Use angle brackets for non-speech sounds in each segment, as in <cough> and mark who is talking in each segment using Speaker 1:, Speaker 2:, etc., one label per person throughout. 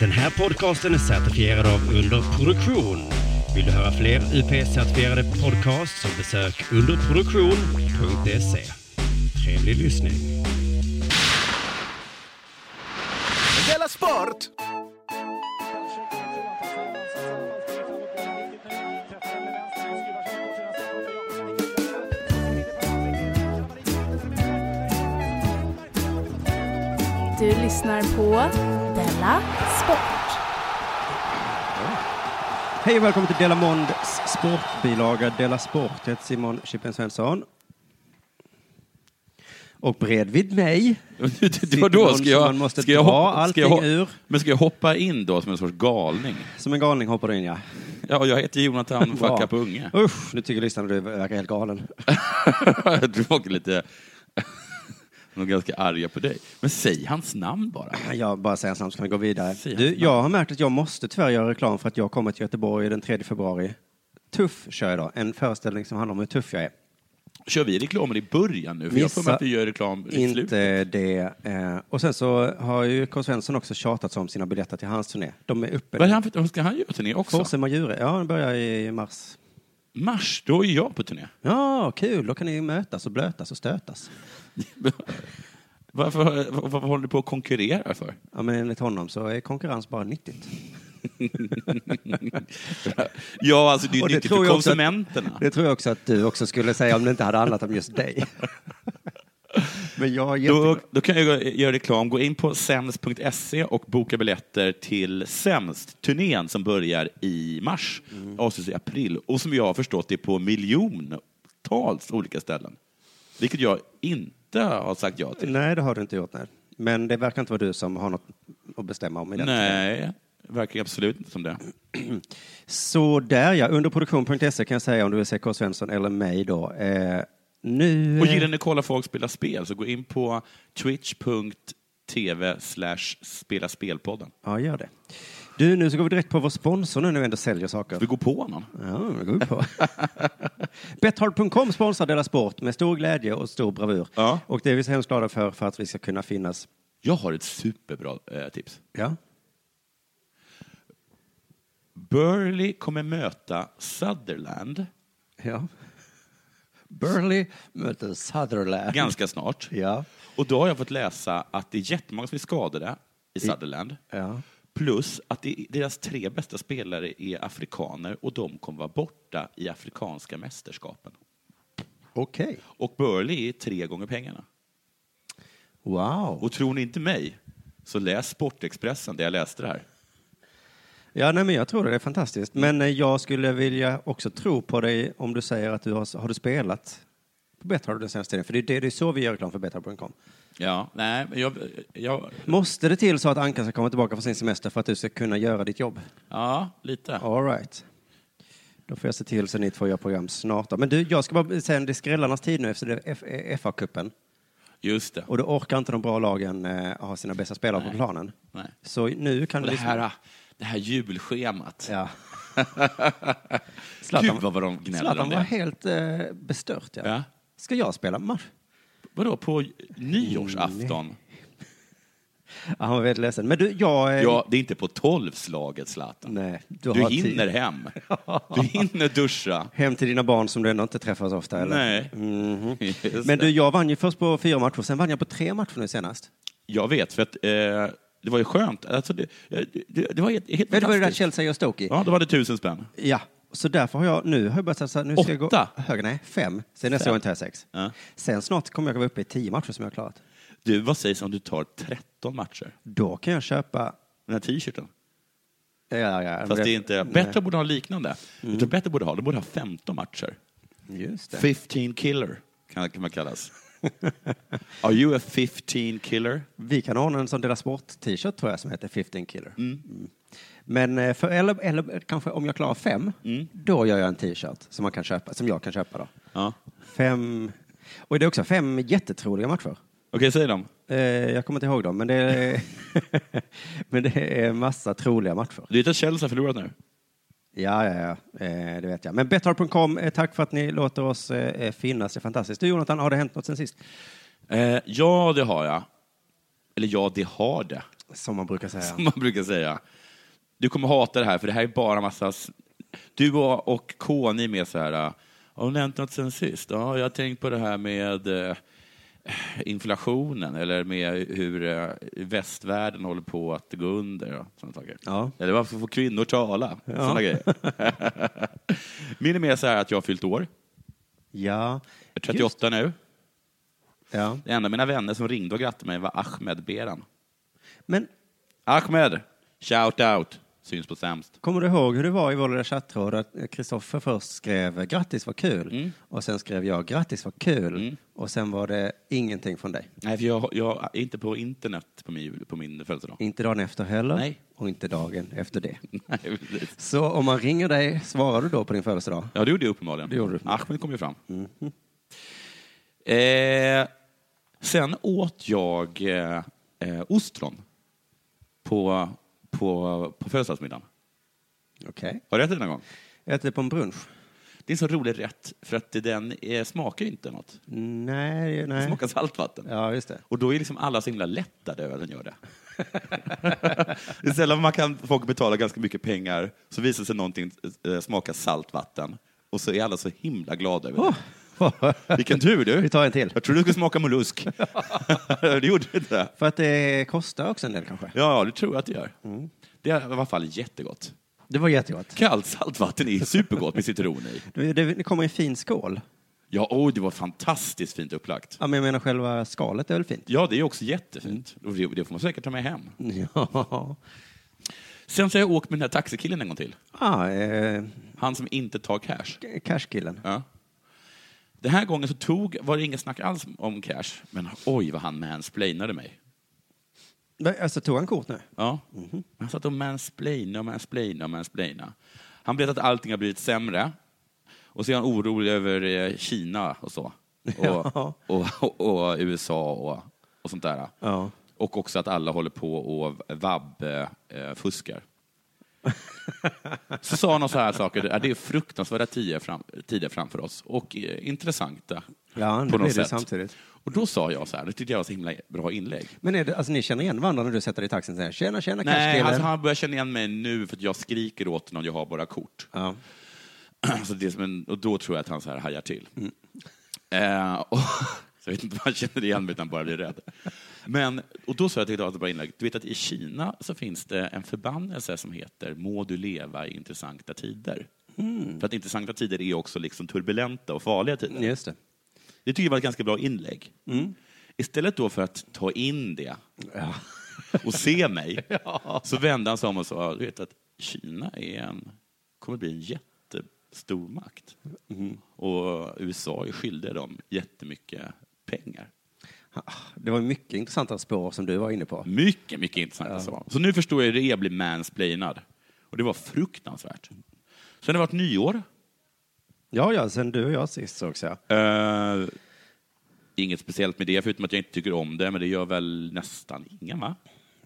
Speaker 1: Den här podcasten är certifierad av Underproduktion. Vill du höra fler UP-certifierade podcasts så besök underproduktion.se. E. Trevlig lyssning.
Speaker 2: Della Sport!
Speaker 3: Du lyssnar på Della Sport.
Speaker 1: Hej och välkommen till Dela Monds sportbilaga Dela Sport. Jag heter Simon Chippen Svensson. Och bredvid mig
Speaker 4: Vadå,
Speaker 1: någon som man
Speaker 4: ska jag,
Speaker 1: måste
Speaker 4: ska jag
Speaker 1: dra
Speaker 4: hoppa, ska jag,
Speaker 1: allting
Speaker 4: hop-
Speaker 1: ur?
Speaker 4: Men ska jag hoppa in då som en sorts galning?
Speaker 1: Som en galning hoppar du in, ja.
Speaker 4: Ja, jag heter Jonathan <laughs>
Speaker 1: Bra.
Speaker 4: Fuck Up Unge.
Speaker 1: Usch, nu tycker lyssnarna du verkar helt galen.
Speaker 4: Du var lite... <laughs> De är ganska arga på dig. Men säg hans namn
Speaker 1: <clears throat>
Speaker 4: bara.
Speaker 1: Jag bara säger snabbt så kan vi gå vidare.
Speaker 4: Säg hans
Speaker 1: Du,
Speaker 4: namn.
Speaker 1: jag har märkt att jag måste tyvärr göra reklam för att jag kommer till Göteborg den 3 februari. Tuff kör jag då, en föreställning som handlar om hur tuff jag är.
Speaker 4: Kör vi reklamen i början nu? För jag får mig att vi gör reklam i slutet.
Speaker 1: inte det. Eh, och sen så har ju K. Svensson också tjatat om sina biljetter till hans turné. De är uppe.
Speaker 4: Vad är han för, ska han göra turné också?
Speaker 1: Forse Majure. Ja, den börjar i mars.
Speaker 4: Mars, då är jag på turné. <laughs>
Speaker 1: Ja, kul. Då kan ni mötas och blötas och stötas.
Speaker 4: Varför, varför, håller du på att konkurrera för?
Speaker 1: Ja, men enligt honom så är konkurrens bara nyttigt.
Speaker 4: Ja, alltså det är
Speaker 1: Och det
Speaker 4: nyttigt
Speaker 1: tror
Speaker 4: för
Speaker 1: jag också att-
Speaker 4: konsumenterna.
Speaker 1: Det tror jag också att du också skulle säga om det inte hade handlat om just
Speaker 4: <laughs>
Speaker 1: dig. men jag är jättegl-
Speaker 4: Då, då kan jag gö- göra reklam. Gå in på sämst.se E och boka biljetter till Sämst-turnén som börjar i mars, avslutas i april och som jag har förstått är på miljontals olika ställen. Vilket jag inte har sagt ja till.
Speaker 1: Nej, det har du inte gjort. Nej. Men det verkar inte vara du som har något att bestämma om i den
Speaker 4: Nej, verkar absolut inte som det.
Speaker 1: Så där ja, underproduktion.se E kan jag säga om du vill se K. Svensson eller mig då. Eh, nu...
Speaker 4: Och gillar ni att kolla folk spela spel så gå in på twitch.tv slash spela spelpodden.
Speaker 1: Ja, gör det. Du, nu så går vi direkt på vår sponsor nu när vi ändå säljer saker.
Speaker 4: Vi går på någon.
Speaker 1: Ja, det går vi på. <laughs> Betthard.com sponsrar Della Sport med stor glädje och stor bravur.
Speaker 4: Ja.
Speaker 1: Och det är vi så hemskt glada för, för att vi ska kunna finnas.
Speaker 4: Jag har ett superbra eh, tips.
Speaker 1: Ja.
Speaker 4: Burley kommer möta <laughs> Sutherland
Speaker 1: ja. Burley möter Sutherland.
Speaker 4: ganska snart.
Speaker 1: Ja.
Speaker 4: Och då har jag fått läsa att det är jättemånga som är skadade i Sutherland.
Speaker 1: Ja.
Speaker 4: Plus att det, deras tre bästa spelare är afrikaner och de kommer vara borta i afrikanska mästerskapen.
Speaker 1: Okej.
Speaker 4: Och Burley är tre gånger pengarna.
Speaker 1: Wow.
Speaker 4: Och tror ni inte mig, så läs Sportexpressen där jag läste det här.
Speaker 1: Ja, nej, men jag tror det. Det är fantastiskt. Men eh, jag skulle vilja också tro på dig om du säger att du har, har du spelat på Betthard den senaste tiden. För det är, det, det är så vi gör reklam för Betthard.com.
Speaker 4: Ja, nej, men jag, jag,
Speaker 1: Måste det till så att Ankan ska komma tillbaka från sin semester för att du ska kunna göra ditt jobb?
Speaker 4: ja, lite.
Speaker 1: All right. Då får jag se till så ni två gör program snart. då. Men du, jag ska bara säga det är skrällarnas tid nu efter det är F- FA-cupen.
Speaker 4: Just det.
Speaker 1: Och då orkar inte de bra lagen eh, ha sina bästa spelare på planen.
Speaker 4: Nej.
Speaker 1: Så nu kan du...
Speaker 4: Och liksom- det
Speaker 1: lyssna-
Speaker 4: här, ah, det här julschemat.
Speaker 1: Ja.
Speaker 4: Gud vad de gnäller om
Speaker 1: Zlatan var
Speaker 4: det.
Speaker 1: helt eh, bestört. Ja.
Speaker 4: Ja.
Speaker 1: Ska jag spela match?
Speaker 4: Vadå, på nyårsafton?
Speaker 1: Ja, han var väldigt ledsen. Men du, jag... eh,
Speaker 4: Ja, det är inte på tolvslaget, Zlatan.
Speaker 1: Nej, du,
Speaker 4: Du
Speaker 1: har
Speaker 4: hinner
Speaker 1: tid. <laughs>
Speaker 4: hem. Du hinner duscha.
Speaker 1: Hem till dina barn som du ändå inte träffar så ofta, eller?
Speaker 4: Nej. Just
Speaker 1: Mm-hmm. Men du,
Speaker 4: det.
Speaker 1: jag vann ju först på fyra matcher, sen vann jag på tre matcher nu senast.
Speaker 4: Jag vet, för att eh, det var ju skönt. Alltså, det, det, det var helt, helt
Speaker 1: Men det var ju det där
Speaker 4: fantastiskt.
Speaker 1: Chelsea gör Stoke i.
Speaker 4: Ja, då var det tusen spänn.
Speaker 1: Ja, så därför har jag nu har jag börjat satsa. Nu ska jag gå
Speaker 4: Åtta?
Speaker 1: höger, nej, fem. Sen nästa
Speaker 4: Fem.
Speaker 1: år inte jag sex.
Speaker 4: Ja.
Speaker 1: Sen snart kommer jag vara uppe i tio matcher som jag har klarat.
Speaker 4: Du, vad sägs om du tar 13 matcher?
Speaker 1: Då kan jag köpa...
Speaker 4: Den här t-shirten.
Speaker 1: Ja, ja, ja.
Speaker 4: Fast det är inte...
Speaker 1: Nej. Mm.
Speaker 4: Bättre borde ha liknande. Jag tror bättre borde ha, de borde ha 15 matcher.
Speaker 1: Just det.
Speaker 4: 15 killer, kan, kan
Speaker 1: <laughs>
Speaker 4: man kallas. Are you a 15 killer?
Speaker 1: Vi kan ordna en sån Dela Sport-t-shirt tror jag som heter 15 Killer. Mm. Men eh, för, eller, eller kanske om jag klarar fem, då gör jag en t-shirt som, man kan köpa, som jag kan köpa då.
Speaker 4: Ja.
Speaker 1: Fem... Och det är också fem jättetroliga matcher.
Speaker 4: Okej, säg dem.
Speaker 1: Eh, jag kommer inte ihåg dem, men det är, <laughs> men det är massa troliga matcher.
Speaker 4: Du vet att Chelsea har förlorat nu?
Speaker 1: Ja, ja, ja. Eh, det vet jag. Men betthard.com, eh, tack för att ni låter oss eh, eh, finnas. Det är fantastiskt. Du Jonathan, har det hänt något sen sist?
Speaker 4: Eh, ja, det har jag. Eller ja, det har det,
Speaker 5: Som man brukar säga.
Speaker 4: som man brukar säga. Du kommer hata det här, för det här är bara massa... s- Du och, och K, ni är med så här... äh, Har hon nämnt något sen sist? Ja, jag har tänkt på det här med eh, inflationen eller med hur eh, västvärlden håller på att gå under och sådana saker.
Speaker 5: Ja.
Speaker 4: Eller varför får kvinnor tala?
Speaker 5: Ja.
Speaker 4: Sådana grejer. <laughs> Min är mer så här att jag har fyllt år.
Speaker 5: Ja.
Speaker 4: Jag är 38 nu.
Speaker 5: Ja.
Speaker 4: Det enda av mina vänner som ringde och grattade mig var Ahmed Beran.
Speaker 5: Men
Speaker 4: Ahmed! Shout out! Syns på sämst.
Speaker 5: kommer du ihåg hur det var i vår lilla chattråd att Kristoffer först skrev grattis vad kul och sen skrev jag grattis vad kul och sen var det ingenting från dig.
Speaker 4: Nej, för jag, jag är inte på internet på min, jul- på min
Speaker 5: <laughs>
Speaker 4: födelsedag.
Speaker 5: Inte dagen efter heller
Speaker 4: Nej.
Speaker 5: och inte dagen efter det.
Speaker 4: Nej, precis.
Speaker 5: Så om man ringer dig, svarar du då på din födelsedag?
Speaker 4: ja, det gjorde jag uppenbarligen.
Speaker 5: Det gjorde du. Mhm.
Speaker 4: Ahmed kom ju fram. Eh, sen åt jag eh, eh, ostron på, på, på födelsedagsmiddagen.
Speaker 5: Okej.
Speaker 4: Har du ätit det någon gång?
Speaker 5: Jag äter på en brunch.
Speaker 4: Det är en så rolig rätt, för att den eh, smakar ju inte något.
Speaker 5: Nej,
Speaker 4: Den
Speaker 5: nej.
Speaker 4: smakar saltvatten.
Speaker 5: Ja, just det. <laughs>
Speaker 4: Och då är liksom alla så himla lättade över att den gör <laughs> det. det är sällan man kan, folk betalar ganska mycket pengar, så visar sig någonting eh, smaka saltvatten, och så är alla så himla glada över det. Vilken tur du!
Speaker 5: Vi tar en till.
Speaker 4: Jag trodde du skulle smaka <laughs> mollusk. det gjorde du inte.
Speaker 5: För att det kostar också en del kanske.
Speaker 4: Ja, ja, det tror jag att det gör. Det är i alla fall jättegott.
Speaker 5: Det var jättegott.
Speaker 4: Kallt saltvatten är supergott med citron i.
Speaker 5: Det, det, det kommer i en fin skål.
Speaker 4: Ja, oj, det var fantastiskt fint upplagt.
Speaker 5: Ja, men jag menar själva skalet är väl fint? <laughs>
Speaker 4: Ja, det är också jättefint. Och det- Det får man säkert ta med hem.
Speaker 5: Ja.
Speaker 4: Sen så har jag åkt med den här taxikillen en gång till.
Speaker 5: Ah, eh,
Speaker 4: Han som inte tar cash.
Speaker 5: cashkillen.
Speaker 4: Ja. Den här gången så tog, var det inget snack alls om cash, men oj vad han mansplainade mig.
Speaker 5: Va, Alltså, tog han kort nu?
Speaker 4: Ja. Han satt och mansplainade och mansplainade och mansplainade. Han vet att allting har blivit sämre. Och så är han orolig över eh, Kina och så. Och,
Speaker 5: Ja.
Speaker 4: och, och, och USA och, och sånt där.
Speaker 5: Ja.
Speaker 4: Och också att alla håller på och vab-fuskar. så sa han så här saker, "Ja, det är fruktansvärda tider, fram, tider framför oss och eh, intressanta
Speaker 5: Ja, nu
Speaker 4: på
Speaker 5: blir
Speaker 4: något
Speaker 5: det
Speaker 4: sätt.
Speaker 5: samtidigt.
Speaker 4: Och då sa jag så här, det tyckte jag var så himla bra inlägg.
Speaker 5: Men är det, alltså, ni känner igen varandra när du sätter dig i taxin och säger tjena, tjena,
Speaker 4: Nej,
Speaker 5: cashkillen?
Speaker 4: alltså, han börjar känna igen mig nu för att jag skriker åt honom, jag har bara kort. <clears throat>
Speaker 5: Ja.
Speaker 4: Så det är som en, och då tror jag att han så här hajar till.
Speaker 5: Mm.
Speaker 4: Eh, och, <laughs> så jag vet inte om han känner igen mig utan bara blir rädd. Men, och då sa jag till David bara inlägg, du vet att i Kina så finns det en förbannelse som heter må du leva i intressanta tider.
Speaker 5: Mm.
Speaker 4: För att intressanta tider är också liksom turbulenta och farliga tider.
Speaker 5: Just det.
Speaker 4: Det tycker jag var ett ganska bra inlägg. Istället då för att ta in det och se mig, så vände han sig om och sa, du vet att Kina är en, kommer bli en jättestor makt. Och USA är skyldiga dem jättemycket pengar.
Speaker 5: Ah, Det var mycket intressanta spår som du var inne på.
Speaker 4: Mycket, mycket intressant. alltså. Så nu förstår jag hur det är att bli mansplainad. Och det var fruktansvärt. Sen har det varit nyår.
Speaker 5: Ja, ja, sen du och jag sist sågs ja.
Speaker 4: Eh, inget speciellt med det, förutom att jag inte tycker om det, men det gör väl nästan ingen, va?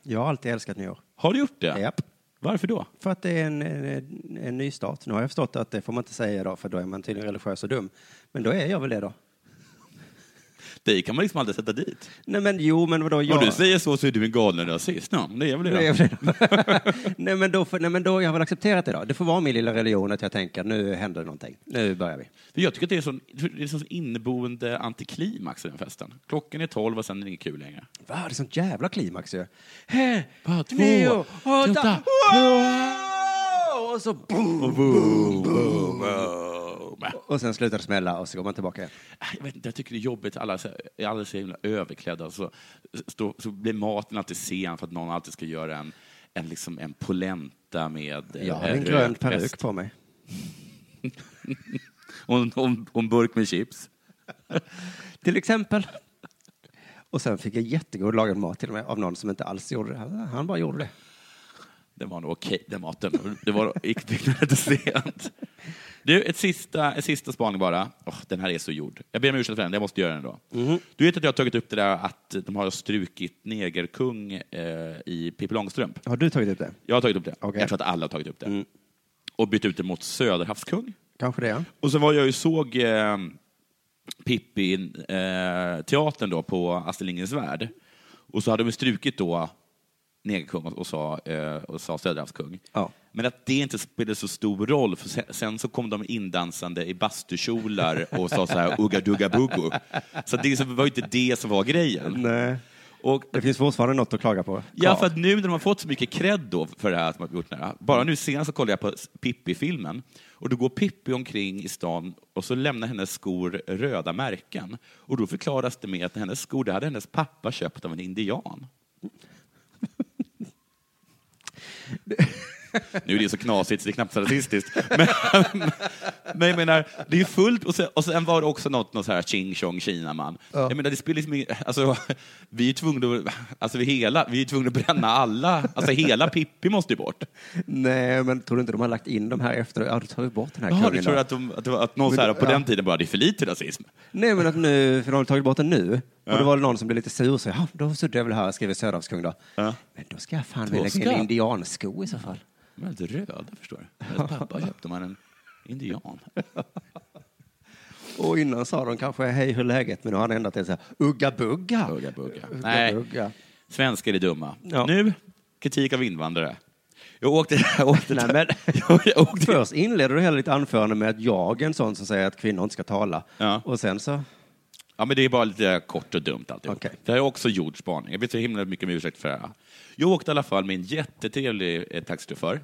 Speaker 5: Jag har alltid älskat nyår.
Speaker 4: Har du gjort det?
Speaker 5: Japp.
Speaker 4: Varför då?
Speaker 5: För att det är en, en, en ny start. Nu har jag förstått att det får man inte säga då, för då är man tydligen religiös och dum. Men då är jag väl det då.
Speaker 4: Dig kan man liksom aldrig sätta dit.
Speaker 5: Nej men jo, men vadå, jag...
Speaker 4: Om du säger så så är du en galen rasist. Ja, det är väl det.
Speaker 5: Nej, jag blir- nej, men då, <laughs> får- nej, men då, jag har väl accepterat det då. Det får vara min lilla religion att jag tänker nu händer det någonting. Nu börjar vi.
Speaker 4: För jag tycker att det är sån, det är sån inneboende antiklimax i den festen. Klockan är tolv och sen är det inget kul längre.
Speaker 5: Va, det är sånt jävla klimax ju. Här,
Speaker 4: Bara två,
Speaker 5: nio, åtta,
Speaker 4: åtta,
Speaker 5: wow! Och så boom, boom, boom.
Speaker 4: Boom.
Speaker 5: Och sen slutar det smälla och så går man tillbaka igen.
Speaker 4: Äh, Jag, vet inte, jag tycker det är jobbigt, alla så- är alldeles så himla överklädda. Så, så, så blir maten alltid sen för att någon alltid ska göra en, en, liksom en polenta med eh,
Speaker 5: Jag har en
Speaker 4: rökt
Speaker 5: grön peruk
Speaker 4: väst.
Speaker 5: på mig.
Speaker 4: och, en- och, en- och en burk med chips.
Speaker 5: Till exempel. Och sen fick jag jättegod lagad mat till och med av någon som inte alls gjorde det. Han bara gjorde det.
Speaker 4: Den var nog okej, den maten. Det var gick lite sent. Du, ett sista, ett sista spaning bara. Åh, den här är så gjord. Jag ber om ursäkt för den, jag måste göra den då. Du vet att jag har tagit upp det där att de har strukit negerkung eh, i Pippi Långstrump.
Speaker 5: Har du tagit upp det?
Speaker 4: Jag har tagit upp det.
Speaker 5: Okej.
Speaker 4: Jag tror att alla har tagit upp det. Och bytt ut det mot Söderhavskung.
Speaker 5: Kanske det, ja.
Speaker 4: Och så var jag ju såg eh, Pippi-teatern då på Astrid Lindgrens Värld. Och så hade de strukit då negerkung och, och, sa, eh, och sa söderhavskung.
Speaker 5: Ja.
Speaker 4: Men att det inte spelade så stor roll, för sen, sen så kom de indansande i bastukjolar och sa så här ugga dugga buggo. Så det liksom var ju inte det som var grejen.
Speaker 5: Nej.
Speaker 4: Och
Speaker 5: Det finns fortfarande något att klaga på.
Speaker 4: Ja,
Speaker 5: Kvar.
Speaker 4: för att nu när de har fått så mycket cred då för det här att de har gjort det här. Bara nu senast så kollade jag på Pippi-filmen och då går Pippi omkring i stan och så lämnar hennes skor röda märken. Och då förklaras det med att hennes skor, det hade hennes pappa köpt av en indian. Nu är det så knasigt så det är knappt så rasistiskt. Men, men jag menar, det är ju fullt. Och sen, och sen var det också något, något så här ching chong kinaman. Jag menar, det spelar liksom ingen- alltså, vi är ju tvungna att, alltså, vi hela, vi är ju tvungna att bränna alla, alltså hela Pippi måste ju bort.
Speaker 5: Nej, men tror du inte de har lagt in de här efter? Ja, då tar vi bort den här
Speaker 4: Jaha,
Speaker 5: kungen.
Speaker 4: du tror
Speaker 5: då.
Speaker 4: att, de, att, det var- att någon så här, på den tiden bara, det är för lite rasism.
Speaker 5: Nej, men att nu, för de har tagit bort den nu. Och det var någon som blev lite sur och sa, ja, då suddar jag väl här, skriver Söderhavskung då.
Speaker 4: Ja.
Speaker 5: Men då ska jag fan
Speaker 4: Då
Speaker 5: lägga in
Speaker 4: ska-
Speaker 5: en indiansko i så fall.
Speaker 4: De är lite röda, förstår du. Hennes pappa köpte man en indian.
Speaker 5: Och innan sa de kanske, hej hur är läget? Men nu har han ändrat till så här, ugga bugga.
Speaker 4: Bugga, bugga.
Speaker 5: Ugga,
Speaker 4: Nej.
Speaker 5: bugga.
Speaker 4: Svenskar är dumma.
Speaker 5: Ja.
Speaker 4: Nu, kritik av invandrare. Jag åkte... Jag åkte,
Speaker 5: Nej, men-
Speaker 4: <laughs> jag, jag åkte
Speaker 5: Först inleder du hela ditt anförande med att jag är en sån som säger att kvinnor inte ska tala.
Speaker 4: Ja.
Speaker 5: Och sen så,
Speaker 4: Ja, men det är bara lite kort och dumt alltihop.
Speaker 5: Okej.
Speaker 4: Det här är också gjort spaning. Jag vet så himla mycket om ursäkt för det här. Jag åkte i alla fall med en jättetrevlig eh, taxichaufför.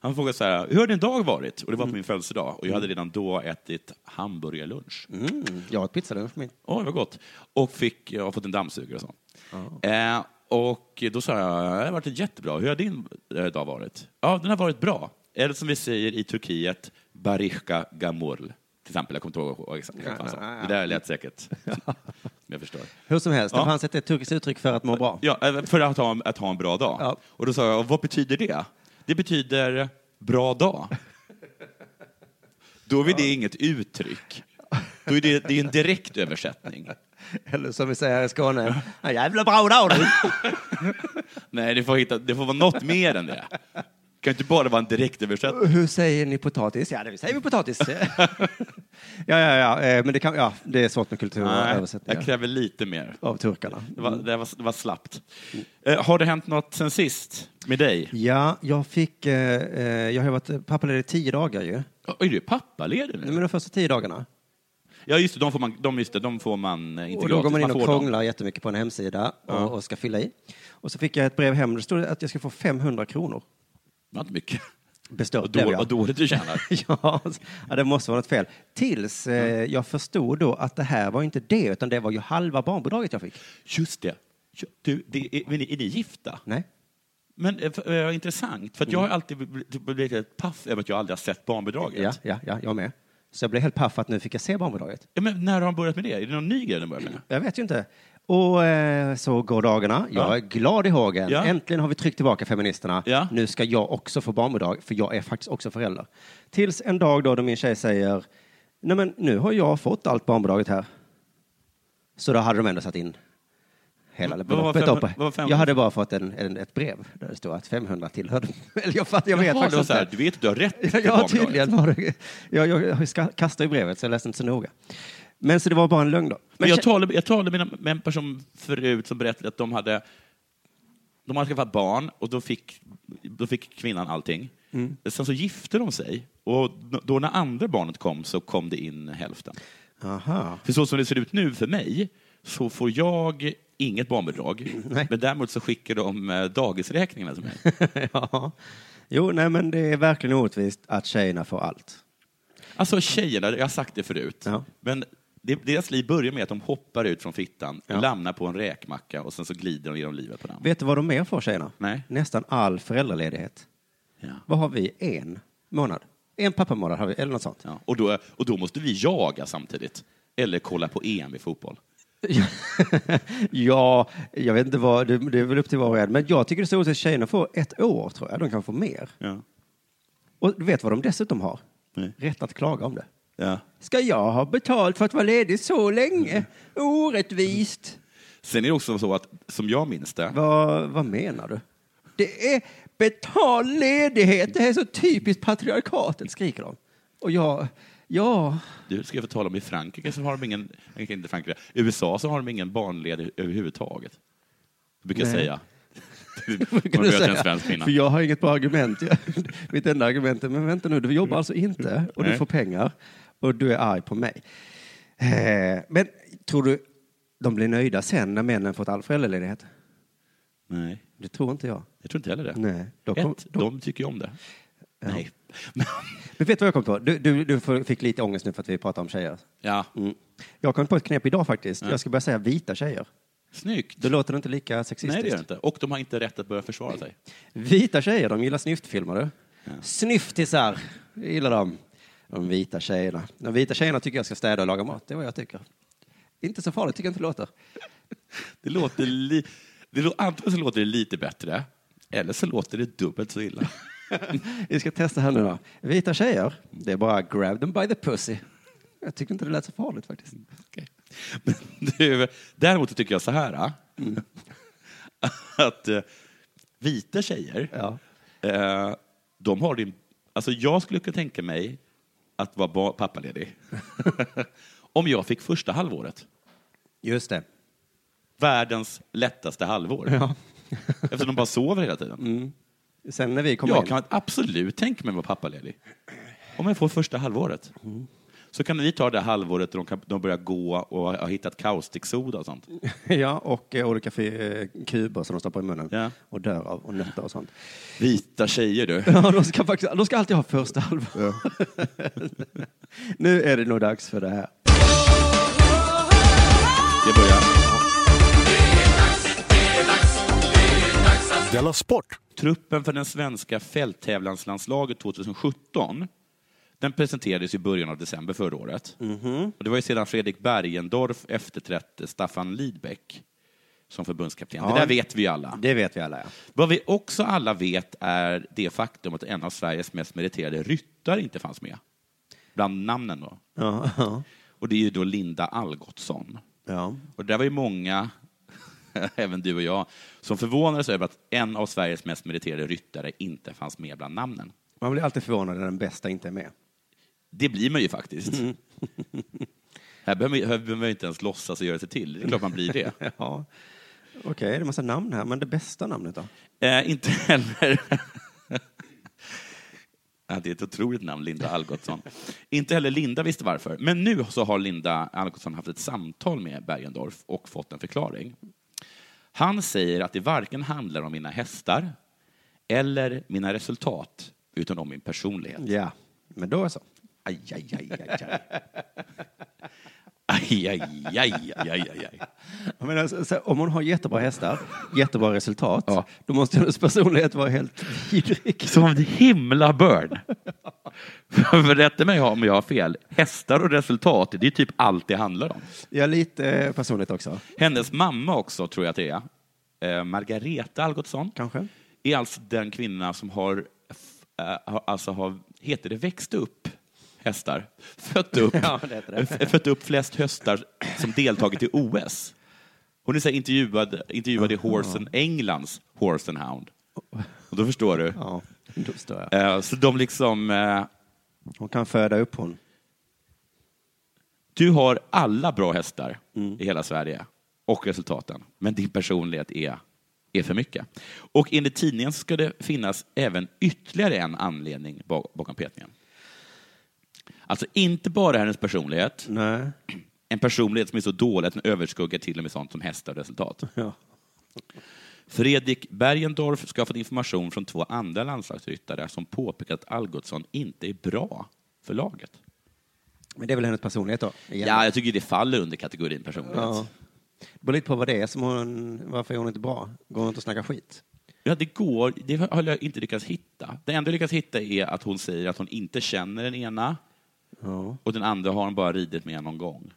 Speaker 4: Han frågade så här, hur har din dag varit? Och det var på
Speaker 5: Mm.
Speaker 4: min födelsedag. Och jag hade redan då ätit hamburgerlunch.
Speaker 5: mm, jag har ett pizzalunch på min.
Speaker 4: Oj, vad gott. Och fick, jag har fått en dammsugare och sånt. Eh, och då sa jag, det har varit jättebra. Hur har din eh, dag varit? Ja, den har varit bra. Eller som vi säger i Turkiet, barishka gamol. Till exempel, jag kommer inte ihåg vad- exakt vad han sa. Det där lät säkert.
Speaker 5: <laughs>
Speaker 4: Som jag förstår.
Speaker 5: Hur som helst,
Speaker 4: Ja.
Speaker 5: det fanns ett turkiskt uttryck för att må bra.
Speaker 4: Ja, eh, för att ha, att ha en bra dag.
Speaker 5: Ja.
Speaker 4: Och då sa jag, vad betyder det? Det betyder bra dag. Då är det inget uttryck. Då är det, det är en direkt översättning.
Speaker 5: Eller som vi säger här i Skåne, "Ja, jävla bra dag du.
Speaker 4: Nej, det får, hitta, det får vara något mer än det. Det kan inte bara vara en direktöversättning.
Speaker 5: Hur säger ni potatis? Ja, det säger
Speaker 4: <laughs>
Speaker 5: vi potatis. ja, ja, ja, eh, men det, kan, ja, det är svårt med kultur och
Speaker 4: Nej,
Speaker 5: översättningar Mm.
Speaker 4: jag kräver lite mer.
Speaker 5: av turkarna.
Speaker 4: Det var, det var, det var slappt. Eh, har det hänt något sen sist med dig?
Speaker 5: Ja, jag fick, eh, eh, jag har ju varit pappaledig i tio dagar ju.
Speaker 4: Är du pappaledig
Speaker 5: Nej,
Speaker 4: nu?
Speaker 5: men de första tio dagarna.
Speaker 4: Ja, just det, de får man, de, just det, de får man eh, inte
Speaker 5: Och då går
Speaker 4: gratis.
Speaker 5: man in
Speaker 4: får
Speaker 5: och
Speaker 4: dem.
Speaker 5: krånglar jättemycket på en hemsida och, och ska fylla i. Och så fick jag ett brev hem, det stod att jag ska få 500 kronor.
Speaker 4: Det var inte mycket.
Speaker 5: Bestört
Speaker 4: Vad
Speaker 5: blev
Speaker 4: då-
Speaker 5: jag.
Speaker 4: vad dåligt du tjänar.
Speaker 5: <laughs> ja, ja, det måste vara något fel. Tills eh, jag förstod då att det här var inte det, utan det var ju halva barnbidraget jag fick.
Speaker 4: Just det. Du, det är, men är ni gifta?
Speaker 5: Nej.
Speaker 4: Men eh, för, eh, intressant, för att jag har alltid bl- bl- blivit helt paff över att jag aldrig har sett barnbidraget.
Speaker 5: Ja, ja, ja, jag med. Så jag blev helt paff att nu fick jag se barnbidraget.
Speaker 4: Ja, men när har de börjat med det? Är det någon ny grej de börjar med?
Speaker 5: Jag vet ju inte. Och eh, så går dagarna. Jag
Speaker 4: Ja.
Speaker 5: är glad i hågen.
Speaker 4: Ja.
Speaker 5: Äntligen har vi tryckt tillbaka feministerna.
Speaker 4: Ja.
Speaker 5: Nu ska jag också få barnbidrag, för jag är faktiskt också förälder. Tills en dag då, då min tjej säger, nej men nu har jag fått allt barnbidraget här. Så då hade de ändå satt in hela
Speaker 4: Vad var
Speaker 5: beloppet.
Speaker 4: fem-
Speaker 5: då på-
Speaker 4: vad var fem-
Speaker 5: jag hade bara fått en, en, ett brev där det stod att 500 tillhörde <laughs> Eller jag, fattar, jag vet
Speaker 4: Jaha, det
Speaker 5: faktiskt
Speaker 4: var
Speaker 5: inte.
Speaker 4: så här, du vet att du har rätt till
Speaker 5: Ja,
Speaker 4: barnbidraget.
Speaker 5: tydligen var det. Jag, jag ska- kastade ju brevet, så jag läste inte så noga. Men så det var bara en lögn då.
Speaker 4: Men jag talade, jag talade med, en- med en person förut som berättade att de hade, de hade skaffat barn och då fick, då fick kvinnan allting. Sen så gifte de sig och n- då när andra barnet kom så kom det in hälften.
Speaker 5: Aha. <laughs>
Speaker 4: För så som det ser ut nu för mig så får jag inget barnbidrag,
Speaker 5: Nej.
Speaker 4: men däremot så skickar de eh, dagisräkningarna till mig.
Speaker 5: ja. Jo, nej men det är verkligen orättvist att tjejerna får allt.
Speaker 4: Alltså tjejerna, jag har sagt det förut,
Speaker 5: Ja.
Speaker 4: men det- deras liv börjar med att de hoppar ut från fittan,
Speaker 5: Ja.
Speaker 4: lamnar på en räkmacka och sen så glider de genom livet på den.
Speaker 5: Vet du vad de mer får tjejerna?
Speaker 4: Nej.
Speaker 5: Nästan all föräldraledighet.
Speaker 4: Ja.
Speaker 5: Vad har vi? En månad? En pappamånad har vi, eller något sånt.
Speaker 4: Ja. Och, då, och då måste vi jaga samtidigt, eller kolla på EM i fotboll.
Speaker 5: ja, jag vet inte vad, det, det är väl upp till var och en. Men jag tycker det är så orättvist att tjejerna får ett år, tror jag. De kan få mer.
Speaker 4: Ja.
Speaker 5: Och du vet vad de dessutom har?
Speaker 4: Nej.
Speaker 5: Rätt att klaga om det.
Speaker 4: Ja.
Speaker 5: Ska jag ha betalt för att vara ledig så länge? Orättvist.
Speaker 4: Sen är det också så att, som jag minns det,
Speaker 5: Vad, vad menar du? Det är betald ledighet. Det här är så typiskt patriarkatet, skriker de. Och jag, ja,
Speaker 4: du ska jag få tala om i Frankrike så har de ingen, nej, inte Frankrike, USA så har de ingen barnledig överhuvudtaget. brukar jag
Speaker 5: Nej. <laughs>
Speaker 4: säga.
Speaker 5: brukar
Speaker 4: Om
Speaker 5: du
Speaker 4: du möter en
Speaker 5: säga.
Speaker 4: svensk kvinna.
Speaker 5: För jag har inget bra argument. Jag- Mitt enda argument är, men vänta nu, du jobbar alltså inte och du
Speaker 4: Nej.
Speaker 5: får pengar och du är arg på mig. Eh, Men tror du de blir nöjda sen när männen fått all föräldraledighet?
Speaker 4: Nej,
Speaker 5: Det tror inte jag.
Speaker 4: jag tror inte heller det.
Speaker 5: Nej, då kom-
Speaker 4: Ett, de tycker ju om det. Nej. <laughs>
Speaker 5: Men vet du vad jag kom på? Du, du, du får- fick lite ångest nu för att vi pratar om tjejer.
Speaker 4: ja,
Speaker 5: Mm. Jag kom på ett knep idag faktiskt. Jag ska börja säga vita tjejer.
Speaker 4: snyggt.
Speaker 5: Då låter det inte lika sexistiskt.
Speaker 4: Nej, det gör det inte. Och de har inte rätt att börja försvara sig.
Speaker 5: Vita tjejer, de gillar snyftfilmer du. Snyftisar gillar de. De vita tjejerna. De vita tjejerna tycker jag ska städa och laga mat. Det är vad jag tycker. Inte så farligt tycker jag inte det låter.
Speaker 4: Det låter li... det lå... Antingen så låter det lite bättre, eller så låter det dubbelt så
Speaker 5: <laughs>
Speaker 4: illa.
Speaker 5: Vi ska testa här nu då. Vita tjejer, det är bara grab them by the pussy. Jag tycker inte det lät så farligt faktiskt.
Speaker 4: Okej. Men du, däremot så tycker jag så här. ah.
Speaker 5: Mm.
Speaker 4: Att eh, vita tjejer,
Speaker 5: Ja.
Speaker 4: eh, de har din... Alltså jag skulle kunna tänka mig att vara ba-
Speaker 5: <laughs>
Speaker 4: pappaledig. Om jag fick första halvåret.
Speaker 5: Just det.
Speaker 4: Världens lättaste halvår.
Speaker 5: Ja. Mm.
Speaker 4: Eftersom de bara sover hela tiden.
Speaker 5: Sen när vi kommer
Speaker 4: Jag
Speaker 5: in.
Speaker 4: kan absolut tänka mig att vara pappaledig. Om jag får första halvåret.
Speaker 5: Mm.
Speaker 4: Så kan ni ta det halvåret då de, kan, de börjar gå och har hittat kaustiksoda och sånt.
Speaker 5: <laughs> Ja, och eh, olika fi- eh, kuber som de stoppar i munnen
Speaker 4: Ja.
Speaker 5: och dör av och nötter och sånt.
Speaker 4: Vita tjejer du.
Speaker 5: <laughs> Ja, de ska, faktiskt, de ska alltid ha första halvan. <laughs> nu är det nog dags för det här.
Speaker 4: Jag börjar.
Speaker 2: Della Sport!
Speaker 4: Truppen för den svenska fälttävlanslandslaget 2017 den presenterades i början av december förra året. Och det var ju sedan Fredrik Bergendorf efterträdde Staffan Lidbeck som förbundskapten.
Speaker 5: Ja.
Speaker 4: Det där vet vi ju alla.
Speaker 5: Det vet vi alla, ja.
Speaker 4: Vad vi också alla vet är det faktum att en av Sveriges mest meriterade ryttare inte fanns med. Bland namnen då.
Speaker 5: Ja, ja.
Speaker 4: Och det är ju då Linda Algotsson.
Speaker 5: ja.
Speaker 4: Och där var ju många, <laughs> även du och jag, som förvånades över att en av Sveriges mest meriterade ryttare inte fanns med bland namnen.
Speaker 5: Man blir alltid förvånad när den bästa inte är med.
Speaker 4: Det blir man ju faktiskt. här behöver man- här behöver man ju inte ens låtsas och göra sig till. Det är klart man blir det.
Speaker 5: Ja. Okej, det är en massa namn här, men det bästa namnet då?
Speaker 4: Eh, inte heller... <laughs> ja, det är ett otroligt namn, Linda Algotsson. inte heller Linda visste varför. Men nu så har Linda Algotsson haft ett samtal med Bergendorf och fått en förklaring. Han säger att det varken handlar om mina hästar eller mina resultat, utan om min personlighet.
Speaker 5: Ja, men då är så.
Speaker 4: Aj, aj, aj, aj, aj. Aj, aj, aj, aj, aj, aj.
Speaker 5: Jag menar, så, så, om hon har jättebra hästar, <laughs> jättebra resultat,
Speaker 4: Ja.
Speaker 5: då måste hennes personlighet vara <laughs> helt vidrig.
Speaker 4: Som en himla börn. <laughs> För Rätta mig om jag har fel. Hästar och resultat, det är typ allt det handlar om.
Speaker 5: Ja, lite eh, personligt också,
Speaker 4: Hennes mamma också, tror jag att det är, eh, Margareta Algotsson,
Speaker 5: kanske.
Speaker 4: är alltså den kvinna som har, f- eh, har- alltså har, heter det växt upp hästar? Fött upp,
Speaker 5: <laughs> Ja, det heter det.
Speaker 4: f- fött upp flest hästar som deltagit i OS. Hon är så här intervjuad, intervjuad i Horsen, Englands Horse and
Speaker 5: <laughs>
Speaker 4: Hound. Och då förstår du.
Speaker 5: Ja, då förstår jag.
Speaker 4: Eh, Så de liksom, eh,
Speaker 5: Hon kan föda upp hon.
Speaker 4: du har alla bra hästar i hela Sverige och resultaten, men din personlighet är, är för mycket. Och enligt tidningen så ska det finnas även ytterligare en anledning bak- bakom petningen. Alltså inte bara hennes personlighet,
Speaker 5: Nej.
Speaker 4: en personlighet som är så dålig att den överskuggar till och med sånt som hästar och resultat.
Speaker 5: Ja.
Speaker 4: Fredrik Bergendorf ska ha fått information från två andra landslagsryttare som påpekat att Algotsson inte är bra för laget.
Speaker 5: Men det är väl hennes personlighet då? igen.
Speaker 4: Ja, jag tycker det faller under kategorin personlighet.
Speaker 5: Ja. Det beror lite på vad det är som hon, varför är hon inte bra? Går hon inte och snackar skit?
Speaker 4: Ja, det går. Det har jag inte lyckats hitta. Det enda jag lyckats hitta är att hon säger att hon inte känner den ena
Speaker 5: Ja.
Speaker 4: och den andra har hon bara ridit med någon gång.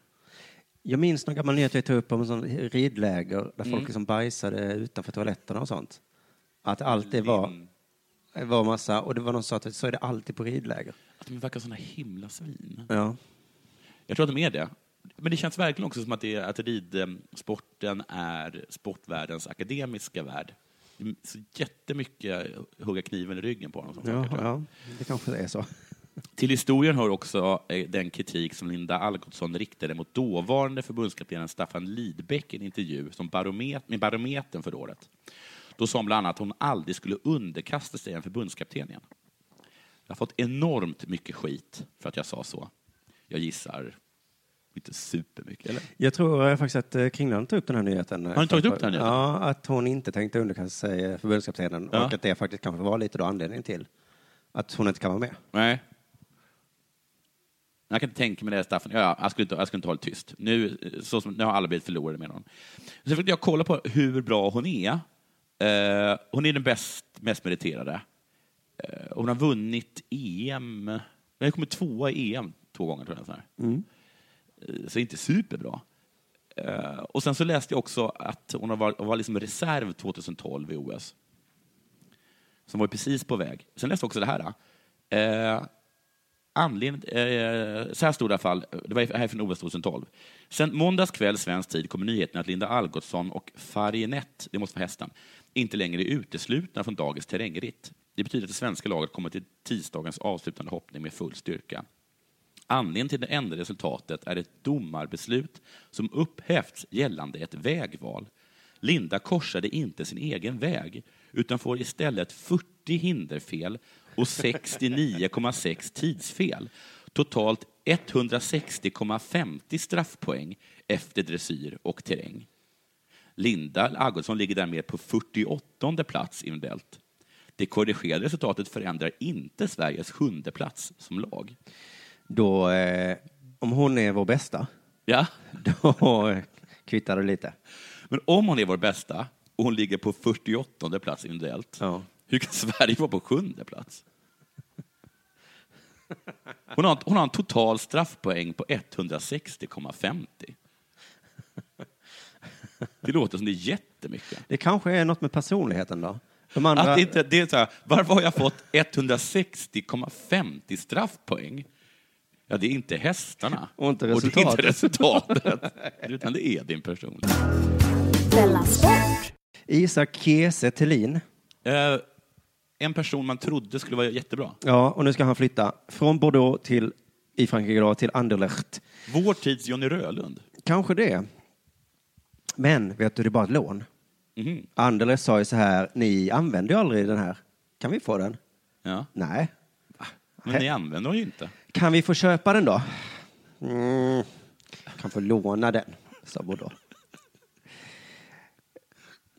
Speaker 5: Jag minns någon gammal nyhet jag tog upp om en sån ridläger där folk liksom bajsade utanför toaletterna och sånt. Att allt det var, var massa, och det var någon som sa att så är det alltid på ridläger.
Speaker 4: Att de verkar såna himla svin.
Speaker 5: Ja.
Speaker 4: Jag tror att de är det. Men det känns verkligen också som att, det är, att ridsporten är sportvärldens akademiska värld. Det är så jättemycket hugga kniven i ryggen på honom.
Speaker 5: Ja, ja, det kanske är så.
Speaker 4: Till historien hör också eh, den kritik som Linda Algotsson riktade mot dåvarande förbundskaptenen Staffan Lidbeck i en intervju som baromet med Barometern för året. Då sa hon bland annat att hon aldrig skulle underkasta sig en förbundskapten igen. Jag har fått enormt mycket skit för att jag sa så. Jag gissar inte supermycket, eller?
Speaker 5: Jag tror eh, faktiskt att eh, Kringland tog upp den här nyheten. Har
Speaker 4: ni tagit upp den nyheten?
Speaker 5: Ja, att hon inte tänkte underkasta sig eh, förbundskaptenen
Speaker 4: Ja.
Speaker 5: och att det faktiskt kanske var lite då anledningen till att hon inte kan vara med.
Speaker 4: Nej. Jag kan inte tänka mig det, här, Staffan. Ja, jag, skulle inte, jag skulle inte hålla tyst. Nu, eh, så som, nu har alla blivit förlorade med honom. Sen försökte jag kolla på hur bra hon är. Eh, hon är den bäst, mest meriterade. Eh, hon har vunnit EM. Hon har kommit tvåa i EM två gånger, tror jag. Så, här. Eh, så inte superbra. Eh, och sen så läste jag också att hon har varit, var liksom reserv 2012 i OS som var precis på väg. Sen läste jag också det här. Eh, anledningen, eh, så här stod det i alla fall, det var här från OS 2012. Sen måndags kväll svensk tid kommer nyheten att Linda Algotsson och Farienet, det måste vara hästen, inte längre är uteslutna från dagens terrängritt. Det betyder att det svenska laget kommer till tisdagens avslutande hoppning med full styrka. Anledningen till det ändrade resultatet är ett domarbeslut som upphävts gällande ett vägval. Linda korsade inte sin egen väg utan får istället 40 hinderfel och 69,6 tidsfel. Totalt 160,50 straffpoäng efter dressyr och terräng. Linda Algotsson ligger därmed på 48 plats individuellt. Det korrigerade resultatet förändrar inte Sveriges sjunde plats som lag.
Speaker 5: Då, eh, om hon är vår bästa, <laughs>
Speaker 4: Ja.
Speaker 5: då eh, kvittar det lite.
Speaker 4: Men om hon är vår bästa och hon ligger på 48 plats individuellt,
Speaker 5: Ja.
Speaker 4: hur kan Sverige vara på sjunde plats? Hon har, hon har en total straffpoäng på 160,50. Det låter som det är jättemycket.
Speaker 5: Det kanske är något med personligheten då? De andra,
Speaker 4: Att det inte, det är så här, varför har jag fått 160,50 straffpoäng? Ja, det är inte hästarna.
Speaker 5: Och inte
Speaker 4: det är inte resultatet.
Speaker 5: <laughs> resultatet.
Speaker 4: Utan det är din person.
Speaker 3: Della Sport.
Speaker 5: Isak Kiese Thelin.
Speaker 4: Eh, en person man trodde skulle vara jättebra.
Speaker 5: Ja, och nu ska han flytta från Bordeaux till, i Frankrike då, till Anderlecht.
Speaker 4: Vår tids Johnny Rölund.
Speaker 5: Kanske det. Men vet du, det är bara ett lån.
Speaker 4: Mhm.
Speaker 5: Anderlecht sa ju så här, ni använder ju aldrig den här. Kan vi få den?
Speaker 4: Ja.
Speaker 5: Nej.
Speaker 4: Men ni använder honom ju inte.
Speaker 5: Kan vi få köpa den då? Mm. Kan få låna den, sa Bordeaux.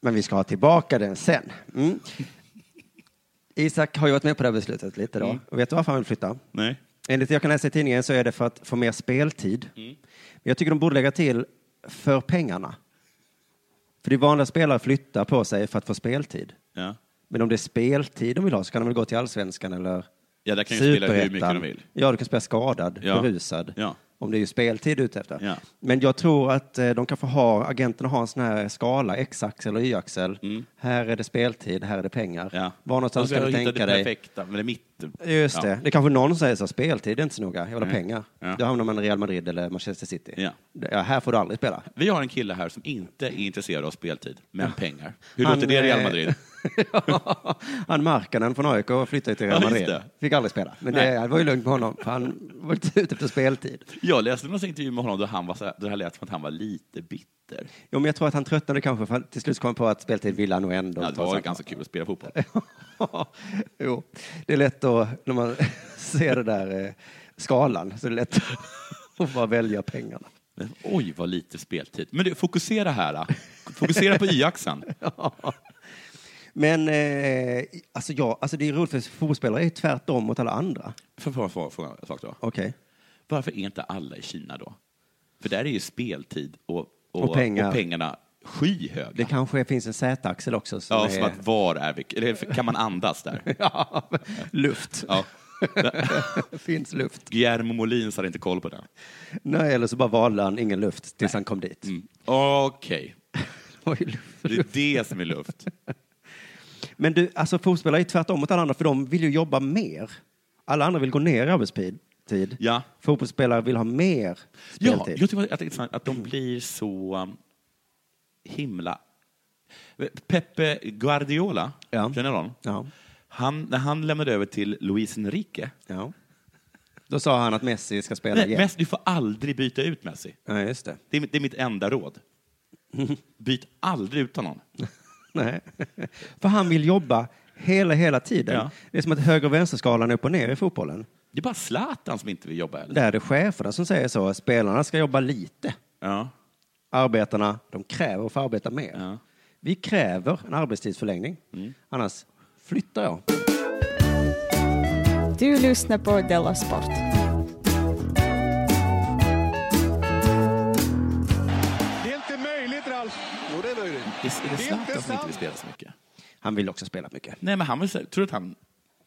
Speaker 5: Men vi ska ha tillbaka den sen. Mm. Isak har ju varit med på det här beslutet lite då. Och vet du varför han vill flytta?
Speaker 4: Nej.
Speaker 5: Enligt det jag kan läsa i tidningen så är det för att få mer speltid. Men jag tycker de borde lägga till för pengarna. För det är vanliga spelare flyttar på sig för att få speltid.
Speaker 4: Ja.
Speaker 5: Men om det är speltid de vill ha så kan de väl gå till allsvenskan eller
Speaker 4: Ja, där kan ju spela hur mycket de
Speaker 5: Superettan.
Speaker 4: vill.
Speaker 5: Ja, du kan spela skadad,
Speaker 4: Ja.
Speaker 5: berusad.
Speaker 4: Ja.
Speaker 5: Om det är ju speltid ute efter.
Speaker 4: Ja.
Speaker 5: Men jag tror att eh, de kanske har, agenterna har en sån här skala, x-axel och y-axel. Här är det speltid, här är det pengar.
Speaker 4: Mm. Ja. Alltså,
Speaker 5: Var någonstans
Speaker 4: Och så
Speaker 5: ska du
Speaker 4: hitta
Speaker 5: tänka
Speaker 4: det
Speaker 5: dig?
Speaker 4: perfekta, men det är mitt.
Speaker 5: Just
Speaker 4: ja.
Speaker 5: det. Det kanske någon säger så, speltid är inte så noga, jag vill ha pengar.
Speaker 4: Ja.
Speaker 5: Då hamnar man i Real Madrid eller Manchester City.
Speaker 4: Ja.
Speaker 5: Ja, här får du aldrig spela.
Speaker 4: Vi har en kille här som inte är intresserad av speltid, men pengar. Hur
Speaker 5: Han,
Speaker 4: låter det i Real
Speaker 5: eh,
Speaker 4: Madrid?
Speaker 5: <laughs> Ja, han Markkanen från AIK flyttade till Real
Speaker 4: Ja, just
Speaker 5: Madrid.
Speaker 4: det.
Speaker 5: Fick aldrig spela. Men
Speaker 4: Nej.
Speaker 5: det, det var ju lugnt med honom, för han var inte ute efter speltid.
Speaker 4: Jag läste någon intervju med honom då han var så här, det här lät som att han var lite bitter.
Speaker 5: Jo, men jag tror att han tröttnade kanske, för till slut kom han på att speltid ville han nog ändå.
Speaker 4: Ja, det
Speaker 5: ta
Speaker 4: var
Speaker 5: sig.
Speaker 4: ganska kul att spela fotboll.
Speaker 5: <laughs> jo, det är lätt att, när man <laughs> ser den där eh, skalan, så är det lätt <laughs> att bara välja pengarna. <laughs>
Speaker 4: Men, oj, vad lite speltid. Men du, fokusera här. ah. Fokusera
Speaker 5: <laughs>
Speaker 4: på y-axeln.
Speaker 5: Men eh, alltså, ja, alltså det är roligt, för fotbollsspelare är ju tvärtom mot alla andra.
Speaker 4: Får jag fråga- fråga en sak då?
Speaker 5: Okej.
Speaker 4: Varför är inte alla i Kina då? För där är ju speltid och,
Speaker 5: Och pengar.
Speaker 4: och pengarna skyhöga.
Speaker 5: Det kanske finns en Z-axel också. Som
Speaker 4: ja,
Speaker 5: är...
Speaker 4: som att var är vi? Eller kan man andas där?
Speaker 5: <laughs> ja, luft.
Speaker 4: Ja.
Speaker 5: <laughs> finns luft.
Speaker 4: Guillermo Molins hade inte koll på den.
Speaker 5: Nej, eller så bara valde han ingen luft tills han kom dit.
Speaker 4: Mm. Okej,
Speaker 5: Oj, luft.
Speaker 4: det är det som är luft.
Speaker 5: Men du, alltså fotbollsspelare är tvärtom mot alla andra, för de vill ju jobba mer. Alla andra vill gå ner i arbetstid. Tid.
Speaker 4: Ja.
Speaker 5: Fotbollsspelare vill ha mer
Speaker 4: Ja,
Speaker 5: speltid.
Speaker 4: jag tycker att det är intressant att de blir så um, himla... Pepe Guardiola,
Speaker 5: Ja.
Speaker 4: känner du honom?
Speaker 5: Ja.
Speaker 4: Han, när han lämnade över till Luis Enrique
Speaker 5: Ja. Då sa han att Messi ska spela
Speaker 4: Nej,
Speaker 5: igen.
Speaker 4: Messi, du får aldrig byta ut Messi.
Speaker 5: Ja, just det.
Speaker 4: Det är, det är mitt enda råd. Byt aldrig ut honom.
Speaker 5: Nej. <laughs> För han vill jobba hela, hela tiden.
Speaker 4: Ja.
Speaker 5: Det är som att höger och vänsterskalan är upp och ner i fotbollen.
Speaker 4: Det är bara Zlatan som inte vill jobba heller.
Speaker 5: Där är det cheferna som säger så. Spelarna ska jobba lite.
Speaker 4: Ja.
Speaker 5: Arbetarna, de kräver att få arbeta mer.
Speaker 4: Ja.
Speaker 5: Vi kräver en arbetstidsförlängning. Annars flyttar jag.
Speaker 6: Du lyssnar på Della Sport.
Speaker 2: Jo, det är möjligt.
Speaker 4: Är, är det Zlatan som inte vill spela så mycket?
Speaker 5: Han vill också spela mycket.
Speaker 4: Nej, men han vill, säga- tror du att han...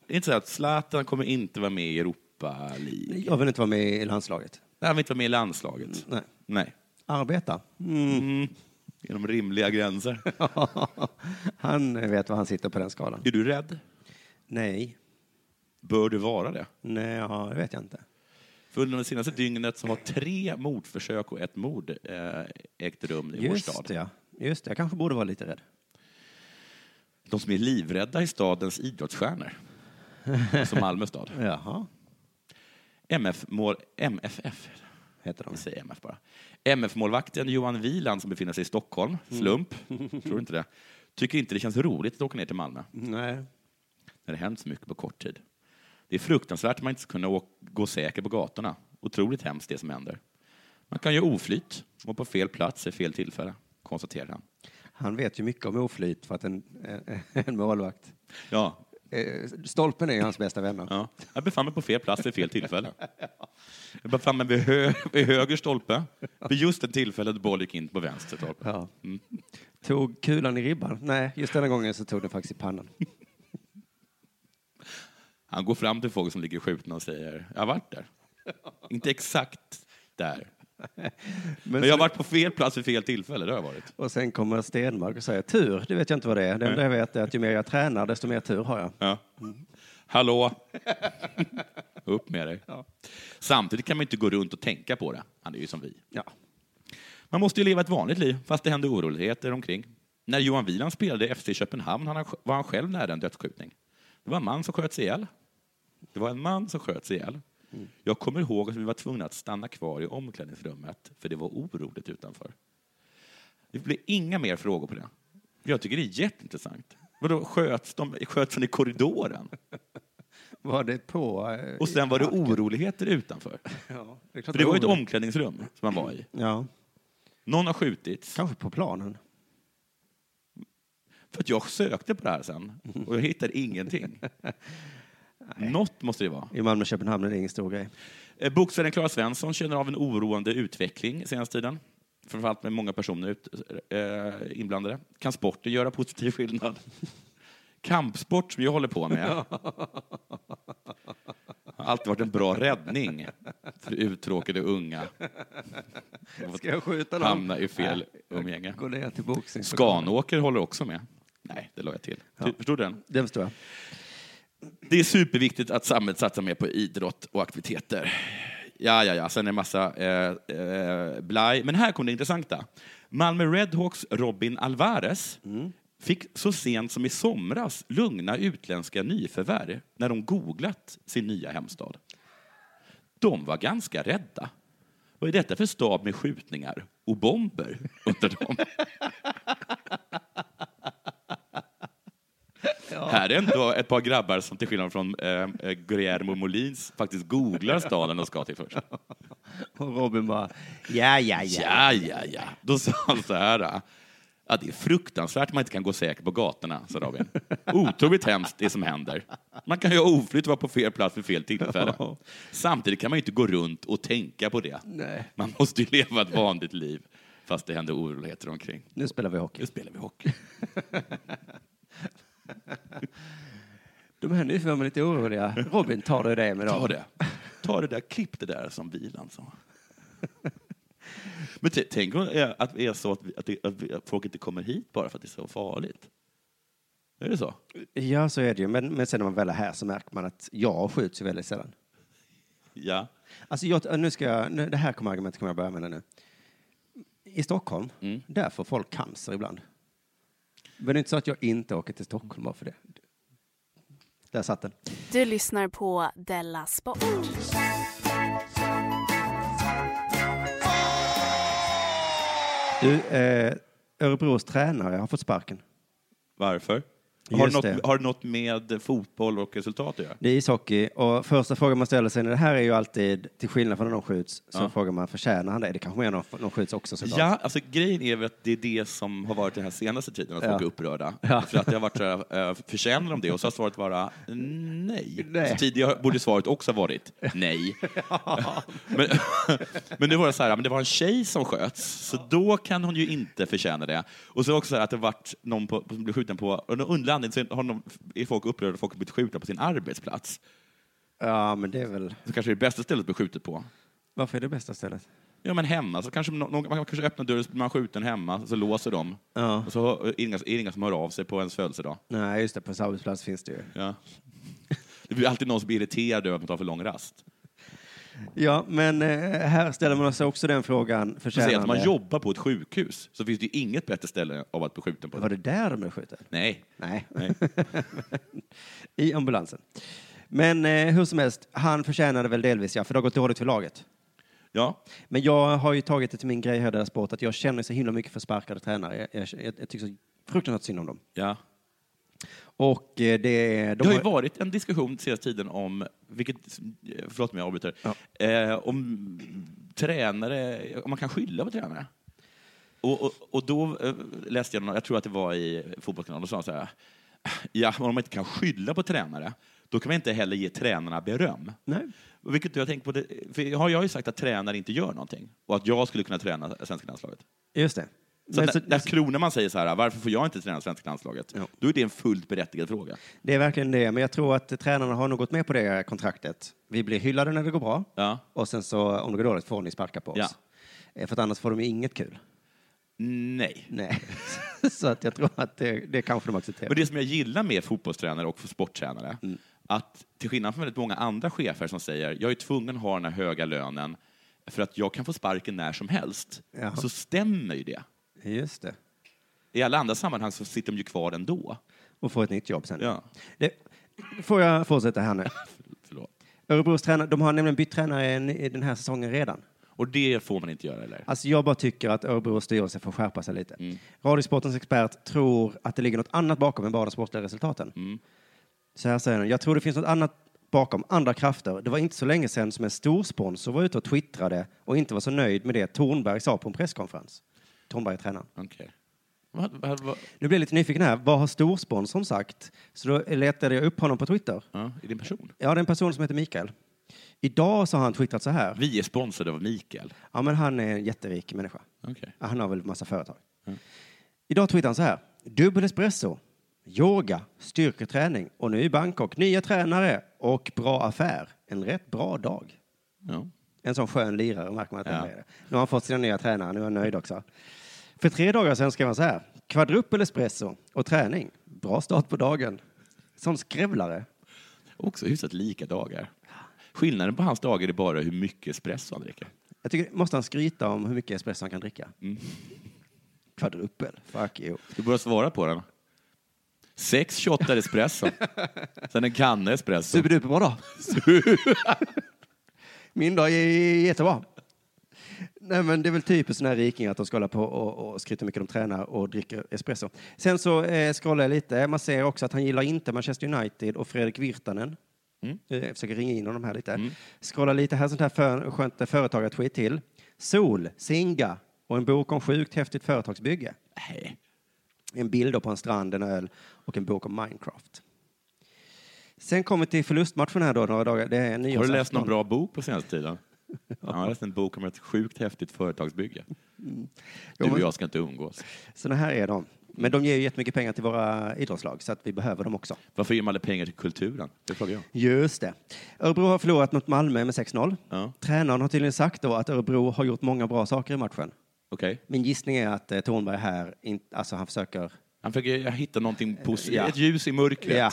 Speaker 4: Det är inte så att Zlatan kommer inte vara med i Europa League.
Speaker 5: Jag vill inte vara med i landslaget.
Speaker 4: Nej, han vill inte vara med i landslaget.
Speaker 5: Nej.
Speaker 4: Nej.
Speaker 5: Arbeta. <laughs>
Speaker 4: Mm. Inom rimliga gränser.
Speaker 5: han vet var han sitter på den skalan.
Speaker 4: Är du rädd?
Speaker 5: Nej,
Speaker 4: Bör du vara det?
Speaker 5: nej, ja, det vet jag inte.
Speaker 4: För under det senaste dygnet så har tre mordförsök och ett mord eh, ägt rum i vår stad.
Speaker 5: Just det, ja. Just det, jag kanske borde vara lite rädd.
Speaker 4: De som är livrädda i stadens idrottsstjärnor. Som Malmö stad.
Speaker 5: Jaha,
Speaker 4: MF mål, MFF.
Speaker 5: heter de.
Speaker 4: Vi säger MF bara. MF-målvakten Johan Wieland som befinner sig i Stockholm, slump, tror du inte det, tycker inte det känns roligt att åka ner till Malmö
Speaker 5: Nej.
Speaker 4: när det hänt så mycket på kort tid. Det är fruktansvärt att man inte ska kunna åk- gå säker på gatorna. Otroligt hemskt det som händer. Man kan göra oflyt och på fel plats i fel tillfälle, konstaterar han.
Speaker 5: Han vet ju mycket om oflyt för att en, <laughs> en målvakt...
Speaker 4: Ja,
Speaker 5: Eh, Stolpen är ju hans bästa vänner.
Speaker 4: Ja. Jag befann mig på fel plats vid fel tillfälle. Jag befann mig vid, hö vid höger stolpe, vid just det tillfälle då boll gick in på vänster stolpe.
Speaker 5: Ja. Tog kulan i ribban? Nej, just denna gången så tog den faktiskt i pannan.
Speaker 4: Han går fram till folk som ligger skjutna och säger jag har varit där. Inte exakt där. Men jag har varit på fel plats vid fel tillfälle, det har jag varit.
Speaker 5: Och sen kommer Stenmark och säger tur, det vet jag inte vad det är. Det enda jag vet är att ju mer jag tränar desto mer tur har jag.
Speaker 4: Ja. Mm. Hallå! Upp med dig. Samtidigt kan man inte gå runt och tänka på det. Han är ju som vi.
Speaker 5: Ja.
Speaker 4: Man måste ju leva ett vanligt liv, fast det händer oroligheter omkring. När Johan Wieland spelade i FC Köpenhamn han- var han själv nära en dödsskjutning. Det var en man som sköts ihjäl. Det var en man som sköts ihjäl. Jag kommer ihåg att vi var tvungna att stanna kvar i omklädningsrummet, för det var oroligt utanför. Det blir inga mer frågor på det. Jag tycker det är jätteintressant. Vadå, sköts de sköts de i korridoren?
Speaker 5: Var det på... eh,
Speaker 4: Och sen var det oroligheter utanför.
Speaker 5: Ja, det, är klart
Speaker 4: För det var ju ett
Speaker 5: roligt.
Speaker 4: omklädningsrum som man var i.
Speaker 5: Ja,
Speaker 4: Någon har skjutits.
Speaker 5: kanske på planen.
Speaker 4: För att jag sökte på det här sen och jag hittade ingenting. Något måste det vara.
Speaker 5: I Malmö och Köpenhamn är det ingen stor grej.
Speaker 4: Eh, Boxaren Klara Svensson känner av en oroande utveckling senaste tiden. Framförallt med många personer ut, eh, inblandade. Kan sporten göra positiv skillnad? Kampsport som jag håller på med har alltid varit en bra räddning för uttråkade unga.
Speaker 5: Ska jag skjuta någon?
Speaker 4: Hamna i fel umgänge.
Speaker 5: Gå ner till boxning.
Speaker 4: Skanåker håller också med. Nej, det la jag till. Du, Förstod du den?
Speaker 5: Den förstår jag.
Speaker 4: Det är superviktigt att samhället satsar mer på idrott och aktiviteter. Ja, ja, ja, sen är det massa eh, eh, blaj. Men här kommer det intressanta. Malmö Redhawks Robin Alvarez fick så sent som i somras lugna utländska nyförvärv när de googlat sin nya hemstad. De var ganska rädda. Vad är detta för stad med skjutningar och bomber? undrar de. Här är ändå ett par grabbar som till skillnad från eh, eh, Guillermo Molins faktiskt googlar staden de ska till först.
Speaker 5: Och Robin bara, ja, ja, ja.
Speaker 4: Ja, ja, ja. Då sa han så här. eh, Ja, det är fruktansvärt att man inte kan gå säker på gatorna, sa <laughs> Robin. Otroligt hemskt det som händer. Man kan ju oflytt vara på fel plats vid fel tillfälle. Samtidigt kan man ju inte gå runt och tänka på det.
Speaker 5: Nej.
Speaker 4: Man måste ju leva ett vanligt liv, fast det händer oroligheter omkring.
Speaker 5: Nu spelar vi hockey.
Speaker 4: Nu spelar vi hockey.
Speaker 5: De här nyförvärven är lite oroliga. Robin, tar du det med dem?
Speaker 4: Ta det. Ta det där, klipp det där som bilen sa. <laughs> Men t- tänk om det är- att det är så att, vi, att, det, att vi, att folk inte kommer hit bara för att det är så farligt. Är det så?
Speaker 5: Ja, så är det ju. Men, men sen när man väl är här så märker man att jag skjuts ju väldigt sällan.
Speaker 4: Ja.
Speaker 5: Alltså, jag, nu ska jag, nu, det här kommer argumentet kommer jag börja använda nu. I Stockholm, där får folk cancer ibland. Men det är inte så att jag inte åker till Stockholm bara för det. Där satt den.
Speaker 7: Du lyssnar på Della Sport.
Speaker 5: Du, eh, Örebros tränare har fått sparken.
Speaker 4: Varför? Har,
Speaker 5: Just
Speaker 4: något,
Speaker 5: det.
Speaker 4: har det något med fotboll och resultat att göra?
Speaker 5: Det är ishockey och första frågan man ställer sig när det här är ju alltid, till skillnad från när någon skjuts, så
Speaker 4: Ja.
Speaker 5: frågar man förtjänar han det? Det kanske man gör när någon- någon skjuts också såklart.
Speaker 4: Ja, alltså grejen är väl att det är det som har varit den här senaste tiden, att folk
Speaker 5: Ja.
Speaker 4: är upprörda.
Speaker 5: Ja.
Speaker 4: För att det har varit så här, eh, förtjänar de det? Och så har svaret vara nej.
Speaker 5: Nej.
Speaker 4: Så tidigare borde svaret också ha varit nej.
Speaker 5: <laughs>
Speaker 4: men, <laughs> men nu var det så här, men det var en tjej som sköts, så då kan hon ju inte förtjäna det. Och så var det också så här att det varit någon på, som blev skjuten på, av någon underlig anledning så har någon, är folk upprörda och folk har blivit skjutna på sin arbetsplats.
Speaker 5: ja, men det är väl...
Speaker 4: Så kanske det är det bästa stället att bli skjutet på.
Speaker 5: Varför är det bästa stället?
Speaker 4: Ja, men hemma. Så kanske någon, någon- man kanske öppnar dörren, så blir man skjuten hemma, så låser de.
Speaker 5: Ja.
Speaker 4: Och så hör- är det inga, är det inga som hör av sig på ens födelsedag.
Speaker 5: Nej, just det, på ens arbetsplats finns det ju.
Speaker 4: Ja. <laughs> Det blir alltid någon som blir irriterad över att man tar för lång rast.
Speaker 5: Ja, men eh, här ställer man sig också den frågan,
Speaker 4: Så säger
Speaker 5: förtjänar
Speaker 4: att om man
Speaker 5: det?
Speaker 4: jobbar på ett sjukhus så finns det ju inget bättre ställe av att bli skjuten på.
Speaker 5: Var det där de blev skjuten?
Speaker 4: Nej.
Speaker 5: <laughs> Nej.
Speaker 4: Nej.
Speaker 5: I ambulansen. Men eh, hur som helst, han förtjänade väl delvis, ja, för det har gått dåligt för laget.
Speaker 4: Ja.
Speaker 5: Men jag har ju tagit det till min grej här i deras sport att jag känner så himla mycket för sparkade tränare. Jag, jag, jag, jag tycker så fruktansvärt synd om dem.
Speaker 4: ja.
Speaker 5: Och eh, det, är- de
Speaker 4: Det har ju varit en diskussion senaste tiden om, vilket, förlåt om jag avbryter, eh, om tränare, om man kan skylla på tränare. Och, och, och då eh, läste jag, någon- jag tror att det var i Fotbollskanalen, och sa så här, ja, om man inte kan skylla på tränare, då kan man inte heller ge tränarna beröm.
Speaker 5: Nej.
Speaker 4: Och Vilket jag tänker på, det, för jag har jag har ju sagt att tränare inte gör någonting och att jag skulle kunna träna svenska landslaget.
Speaker 5: Just det.
Speaker 4: Så
Speaker 5: Men
Speaker 4: när,
Speaker 5: så,
Speaker 4: när Kroneman säger så här, varför får jag inte träna svenska landslaget?
Speaker 5: Ja.
Speaker 4: Då är det en fullt berättigad fråga.
Speaker 5: det är verkligen det, men jag tror att eh, tränarna har nog gått med på det här kontraktet. Vi blir hyllade när det går bra
Speaker 4: Ja.
Speaker 5: och sen så om det går dåligt får ni sparka på oss.
Speaker 4: Ja.
Speaker 5: Eh, För att annars får de ju inget kul.
Speaker 4: Nej.
Speaker 5: Nej. <laughs> så att jag tror att det, det kanske de accepterar.
Speaker 4: Men det som jag gillar med fotbollstränare och sporttränare, att till skillnad från väldigt många andra chefer som säger jag är tvungen att ha den här höga lönen för att jag kan få sparken när som helst,
Speaker 5: Ja.
Speaker 4: så stämmer ju det.
Speaker 5: Just det.
Speaker 4: I alla andra sammanhang så sitter de ju kvar ändå.
Speaker 5: Och får ett nytt jobb sen.
Speaker 4: Ja.
Speaker 5: Det, får jag fortsätta här nu?
Speaker 4: Förlåt.
Speaker 5: Örebros tränare, de har nämligen bytt tränare en- i den här säsongen redan.
Speaker 4: Och det får man inte göra, eller?
Speaker 5: Alltså jag bara tycker att Örebros styrelse får skärpa sig lite.
Speaker 4: Mm.
Speaker 5: Radiosportens expert tror att det ligger något annat bakom än bara de sportliga resultaten.
Speaker 4: Mm.
Speaker 5: Så här säger han, jag tror det finns något annat bakom, andra krafter. Det var inte så länge sedan som en storsponsor var ute och twittrade och inte var så nöjd med det Tornberg sa på en presskonferens. Tornberg är tränaren.
Speaker 4: Okej. Vad- vad- vad-
Speaker 5: Nu blir jag lite nyfiken här, vad har storsponsorn sagt? Så då letade jag upp honom på Twitter.
Speaker 4: Ja, är det en person?
Speaker 5: Ja, det är en person som heter Mikael. Idag så har han twittrat så här.
Speaker 4: Vi är sponsrade av Mikael.
Speaker 5: Ja, men han är en jätterik människa.
Speaker 4: Okej.
Speaker 5: Ja, Han har väl massa företag. Idag twittrar han så här. Dubbel espresso, yoga, styrketräning och nu i Bangkok. Nya tränare och bra affär. En rätt bra dag.
Speaker 4: Ja.
Speaker 5: En sån skön lirare märker man att han
Speaker 4: Ja.
Speaker 5: är. det. Nu har han fått sina nya tränare, nu är han nöjd också. För tre dagar sedan skrev han så här. Kvadruppel espresso och träning. Bra start på dagen. Som skrävlare.
Speaker 4: Också hyfsat lika dagar. Skillnaden på hans dagar är bara hur mycket espresso han dricker.
Speaker 5: Jag tycker, måste han skryta om hur mycket espresso han kan dricka? Kvadruppel, fuck you.
Speaker 4: Du borde svara på den. Sex shottar espresso. Sen en kanna espresso.
Speaker 5: Superduperbra dag. Min dag är jättebra. Nej, men det är väl typiskt sådana här rikingar att de ska hålla på och, och skryta hur mycket de tränar och dricker espresso. Sen så eh, scrollar jag lite. Man ser också att han gillar inte Manchester United och Fredrik Virtanen.
Speaker 4: Mm.
Speaker 5: Eh, Jag försöker ringa in honom här lite. Scrollar lite här, sånt här för, skönt företagartweet till. Sol, Singa och en bok om sjukt häftigt företagsbygge.
Speaker 4: Nej.
Speaker 5: En bild då på en strand, en öl och en bok om Minecraft. Sen kommer vi till förlustmatchen här då, några dagar. Det är
Speaker 4: Har du
Speaker 5: nyårsafton.
Speaker 4: läst någon bra bok på senaste tiden? Ja, jag har läst en bok om ett sjukt häftigt företagsbygge. Du och jag ska inte umgås.
Speaker 5: Såna här är de. Men de ger ju jättemycket pengar till våra idrottslag, så att vi behöver dem också.
Speaker 4: Varför ger man aldrig pengar till kulturen? Det frågar jag.
Speaker 5: Just det. Örebro har förlorat mot Malmö med 6-0.
Speaker 4: Ja.
Speaker 5: Tränaren har tydligen sagt då att Örebro har gjort många bra saker i matchen.
Speaker 4: Okej.
Speaker 5: Min gissning är att eh, Tornberg här, in, alltså han försöker...
Speaker 4: Han försöker hitta någonting positivt,
Speaker 5: Ja.
Speaker 4: ett ljus i mörkret.
Speaker 5: Ja.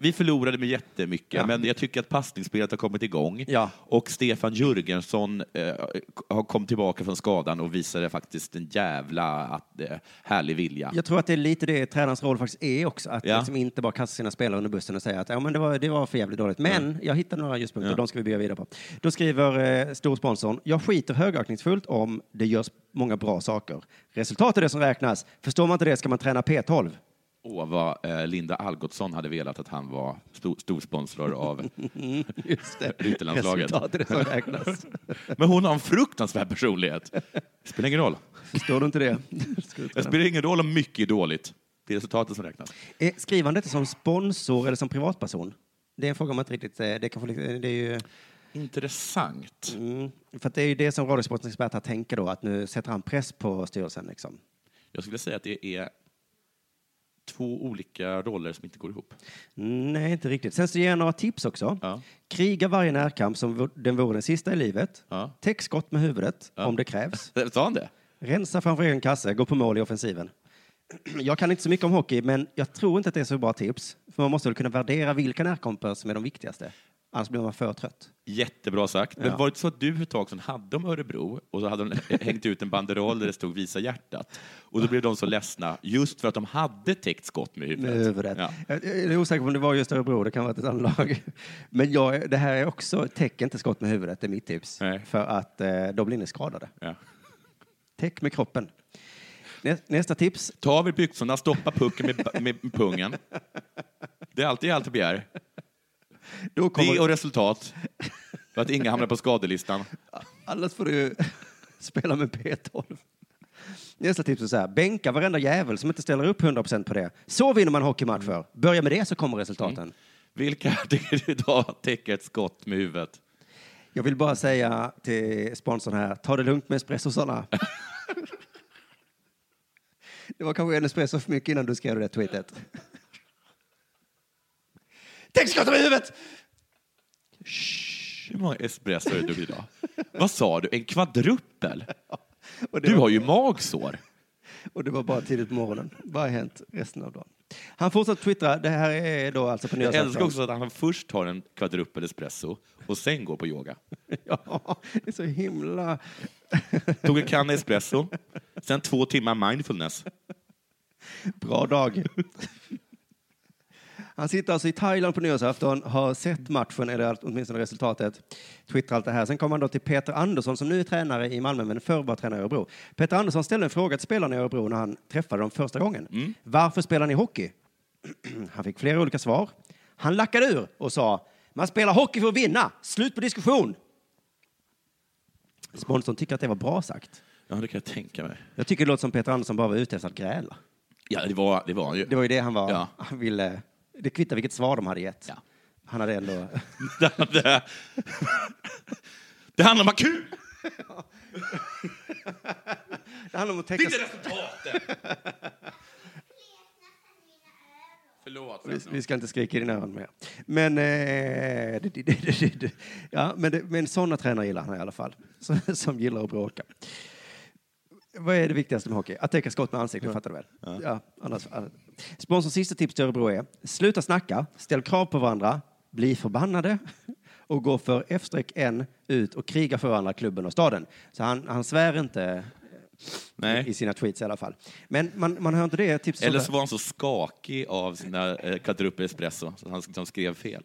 Speaker 4: Vi förlorade med jättemycket,
Speaker 5: Ja.
Speaker 4: men jag tycker att passningsspelet har kommit igång.
Speaker 5: Ja.
Speaker 4: Och Stefan Jürgensson eh, har kommit tillbaka från skadan och visade faktiskt en jävla att, eh, härlig vilja.
Speaker 5: Jag tror att det är lite det tränarens roll faktiskt är också, att
Speaker 4: Ja.
Speaker 5: liksom inte bara kasta sina spelare under bussen och säga att ja, men det, var, det var för jävligt dåligt. Men jag hittade några ljuspunkter, de ska vi bygga vidare på. Då skriver eh, storsponsorn, jag skiter högaktningsfullt om det görs många bra saker. Resultat är det som räknas. Förstår man inte det ska man träna P12.
Speaker 4: Åh, vad eh, Linda Algotsson hade velat att han var stor, storsponsor av
Speaker 5: <laughs>
Speaker 4: <laughs>
Speaker 5: Just det.
Speaker 4: Rytterlandslaget.
Speaker 5: Resultat är det som räknas.
Speaker 4: Men hon har en fruktansvärd personlighet. Det spelar ingen roll.
Speaker 5: Förstår du inte det? <laughs>
Speaker 4: Det spelar ingen roll om mycket är dåligt. Det är resultatet som räknas.
Speaker 5: Eh, Skriver han detta som sponsor eller som privatperson? Det är en fråga man inte riktigt... eh, Det, kan få, lite- det är ju...
Speaker 4: Intressant.
Speaker 5: Mm, för att det är ju det som Radiosportens experter tänker då, att nu sätter han press på styrelsen. Liksom.
Speaker 4: Jag skulle säga att det är två olika roller som inte går ihop.
Speaker 5: Nej, inte riktigt. Sen så ger jag några tips också.
Speaker 4: Ja.
Speaker 5: Kriga varje närkamp som v- den vore den sista i livet.
Speaker 4: Ja.
Speaker 5: Täck skott med huvudet om det krävs.
Speaker 4: Sa han det?
Speaker 5: Rensa framför egen kasse, gå på mål i offensiven. <clears throat> Jag kan inte så mycket om hockey, men jag tror inte att det är så bra tips. För man måste väl kunna värdera vilka närkamper som är de viktigaste. Annars blir man för trött.
Speaker 4: Jättebra sagt. Men
Speaker 5: Ja.
Speaker 4: var det så att du för ett tag sedan hade om Örebro och så hade de <laughs> hängt ut en banderoll där det stod Visa hjärtat? Och då blev de så ledsna just för att de hade täckt skott med
Speaker 5: med
Speaker 4: huvudet.
Speaker 5: huvudet.
Speaker 4: Ja.
Speaker 5: Jag jag är osäker på om det var just Örebro, det kan ha varit ett annat lag. <laughs> Men jag, det här är också, täck inte skott med huvudet, det är mitt tips.
Speaker 4: Nej.
Speaker 5: För att eh, då blir ni skadade.
Speaker 4: Ja.
Speaker 5: Täck med kroppen. Nä- Nästa tips,
Speaker 4: Ta av er byxorna, stoppa pucken med, med pungen. Det är alltid allt jag begär.
Speaker 5: då
Speaker 4: Det och
Speaker 5: kommer...
Speaker 4: resultat. För att inga hamnar på skadelistan.
Speaker 5: Annars får du <laughs> spela med P12. Nästa tips är så här, bänka varenda jävel som inte ställer upp 100% på det. Så vinner man hockeymatcher. Börja med det så kommer resultaten.
Speaker 4: Vilka <laughs> tycker du idag täcker ett skott med huvudet?
Speaker 5: Jag vill bara säga till sponsorn här, ta det lugnt
Speaker 4: <laughs>
Speaker 5: med espressosarna. det var kanske en espresso för mycket innan du skrev
Speaker 4: <laughs>
Speaker 5: det tweetet. Tänk skottet med huvudet!
Speaker 4: Shh, Hur många espresso är du idag? Vad sa du? En kvadrupel?
Speaker 5: Och det,
Speaker 4: Du
Speaker 5: var,
Speaker 4: har ju magsår.
Speaker 5: och det var bara tidigt på morgonen. Vad har hänt resten av dagen? Han fortsatte twittra, det här är då alltså på
Speaker 4: Jag älskar
Speaker 5: nyårsafton.
Speaker 4: också att han först tar en kvadrupel espresso och sen går på yoga.
Speaker 5: Ja, <laughs> det är så himla...
Speaker 4: Tog en kanna espresso, sen två timmar mindfulness.
Speaker 5: Bra dag. Han sitter alltså i Thailand på nyårsafton, har sett matchen, eller åtminstone resultatet, twittrar allt det här. Sen kommer han då till Peter Andersson som nu är tränare i Malmö, men förr var tränare i Örebro. Peter Andersson ställde en fråga till spelarna i Örebro när han träffade dem första gången. Varför spelar ni hockey? <clears throat> Han fick flera olika svar. Han lackade ur och sa, man spelar hockey för att vinna, slut på diskussion. Sponsorn tycker att det var bra sagt.
Speaker 4: Ja, det kan jag tänka mig.
Speaker 5: Jag tycker det låter som Peter Andersson bara var ute efter att gräla.
Speaker 4: Ja, det var, det var han ju.
Speaker 5: Det var ju det han var.
Speaker 4: Ja.
Speaker 5: Han ville, det kvittar vilket svar de hade gett.
Speaker 4: Ja.
Speaker 5: Han hade ändå...
Speaker 4: Det, det, det handlar om att ha kul!
Speaker 5: <laughs> Det handlar om att
Speaker 4: Det är
Speaker 5: täcka...
Speaker 4: inte resultatet! Förlåt.
Speaker 5: Vi, vi ska inte skrika i dina öron mer. Men, eh, det, det, det, det, det. Ja, men, det, men sådana tränare gillar han i alla fall, <laughs> som, som gillar att bråka. Vad är det viktigaste med hockey? Att täcka skott med ansiktet, fattar du väl? Ja. annars, annars. Sponsorns sista tips till Örebro är sluta snacka, ställ krav på varandra, bli förbannade och gå för F-N ut och kriga för varandra, klubben och staden. Så han, han svär inte i
Speaker 4: Nej.
Speaker 5: sina tweets i alla fall. Men man, man hör inte det tipset.
Speaker 4: Eller så var han så skakig av sina eh, kvadrupel espresso så han liksom skrev fel.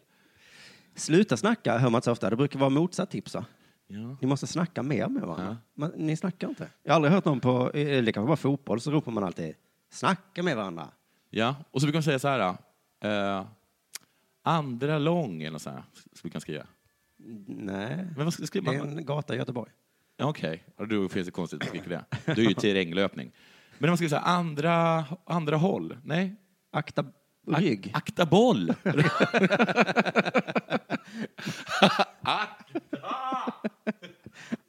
Speaker 5: Sluta snacka hör man inte så ofta. Det brukar vara motsatt tips. Va?
Speaker 4: Ja.
Speaker 5: Ni måste snacka mer med varandra. Man, ni snackar inte. Jag har aldrig hört någon på, eller det kanske bara fotboll, så ropar man alltid snacka med varandra.
Speaker 4: ja. Och så brukar man säga så här. Eh, andra lång eller något så här. Så brukar man skriva.
Speaker 5: Nej,
Speaker 4: Men vad sk-
Speaker 5: det
Speaker 4: skriver
Speaker 5: är
Speaker 4: man?
Speaker 5: en gata i Göteborg.
Speaker 4: Ja, Okej, okay. då finns det konstigt att skriva det. Då är det ju terränglöpning. Men om man ska säga andra, andra håll? Nej?
Speaker 5: Akta rygg.
Speaker 4: Akta
Speaker 5: <laughs>
Speaker 4: boll!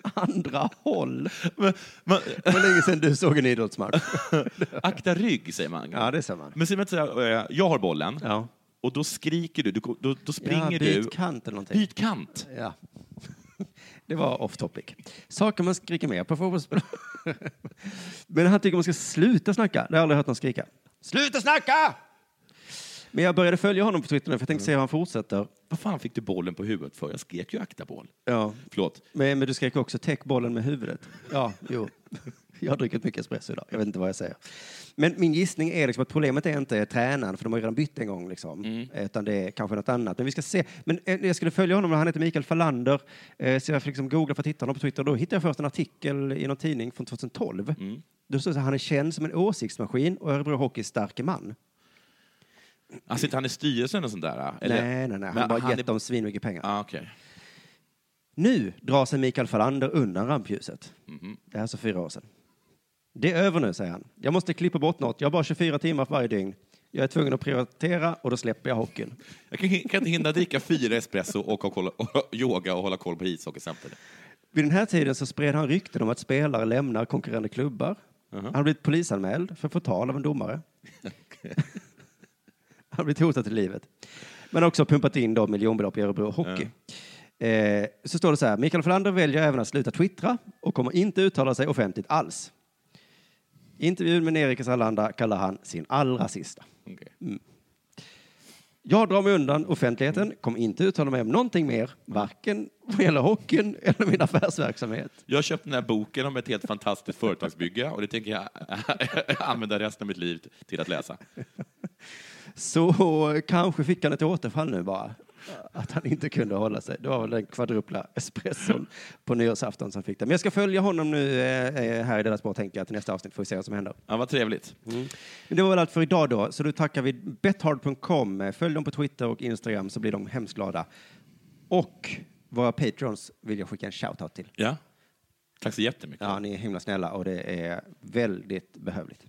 Speaker 5: Andra håll.
Speaker 4: Men- men-
Speaker 5: Det var länge sedan du såg en idrottsmatch.
Speaker 4: <laughs> akta rygg, säger man.
Speaker 5: Ja, det ser man.
Speaker 4: Men säger man inte så här, eh, jag har bollen,
Speaker 5: Ja.
Speaker 4: och då skriker du, du ko- då, då springer
Speaker 5: ja, byt
Speaker 4: du.
Speaker 5: kant eller någonting.
Speaker 4: Byt kant!
Speaker 5: Ja. <laughs> Det var off topic. Saker man skriker mer på fotbollsspel. <laughs> Men han tycker man ska sluta snacka. Det har jag aldrig hört någon skrika. Sluta snacka! Men jag började följa honom på Twitter nu, för jag tänkte se hur han fortsätter.
Speaker 4: Vad fan fick du bollen på huvudet för? Jag skrek ju akta boll.
Speaker 5: Ja.
Speaker 4: Förlåt.
Speaker 5: Men, men du skrek också täck bollen med huvudet. Ja, jo. <laughs> Jag har druckit mycket espresso idag. Jag vet inte vad jag säger. Men min gissning är liksom att problemet är inte tränaren, för de har ju redan bytt en gång. Liksom. Utan det är kanske något annat. Men vi ska se. Men eh, jag skulle följa honom, han heter Mikael Fallander. Eh, Så jag fick liksom googla för att hitta honom på Twitter. Då hittade jag först en artikel i någon tidning från 2012. Då stod det så här, han är känd som en åsiktsmaskin och Örebro Hockeys starke man.
Speaker 4: Alltså inte han i styrelsen och sånt där? Eller?
Speaker 5: Nej, nej, nej. Han
Speaker 4: Men
Speaker 5: har bara gett
Speaker 4: är-
Speaker 5: dem svinmycket pengar.
Speaker 4: Ah, okej.
Speaker 5: Nu drar sig Mikael Falander undan rampljuset. Det här är alltså fyra år sedan. Det är över nu, säger han. Jag måste klippa bort något. Jag har bara 24 timmar varje dygn. Jag är tvungen att prioritera och då släpper jag hockeyn.
Speaker 4: Jag kan, kan inte hinna dricka fyra espresso och, ha koll, och yoga och hålla koll på ishockey samtidigt.
Speaker 5: Vid den här tiden så spred han rykten om att spelare lämnar konkurrerande klubbar. Han har blivit polisanmäld för förtal av en domare. han har blivit hotad till livet. Men också pumpat in då miljonbelopp i Örebro Hockey. Eh, så står det så här, Mikael Flander väljer även att sluta twittra och kommer inte uttala sig offentligt alls. I intervjun med Erik Salanda kallar han sin allra sista.
Speaker 4: Okej.
Speaker 5: Jag drar mig undan offentligheten, kommer inte uttala mig om någonting mer, varken vad gäller hockeyn eller min affärsverksamhet.
Speaker 4: Jag har köpt den här boken om ett helt fantastiskt företagsbygge och det tänker jag <laughs> använda resten av mitt liv till att läsa.
Speaker 5: Så kanske fick han ett återfall nu bara. Att han inte kunde hålla sig. Det var väl den kvadrupla espresson på nyårsafton som fick det. Men jag ska följa honom nu eh, eh, här i Della Sport, tänker jag, till nästa avsnitt får vi se vad som händer.
Speaker 4: Ja, vad trevligt.
Speaker 5: Men det var väl allt för idag då, så då tackar vi bethard.com. Eh, Följ dem på Twitter och Instagram så blir de hemskt glada. Och våra patrons vill jag skicka en shoutout till.
Speaker 4: Ja. Tack så jättemycket.
Speaker 5: Ja, ni är himla snälla och det är väldigt behövligt.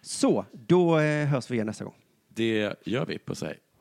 Speaker 5: Så, då eh, hörs vi igen nästa gång.
Speaker 4: Det gör vi. Puss och hej.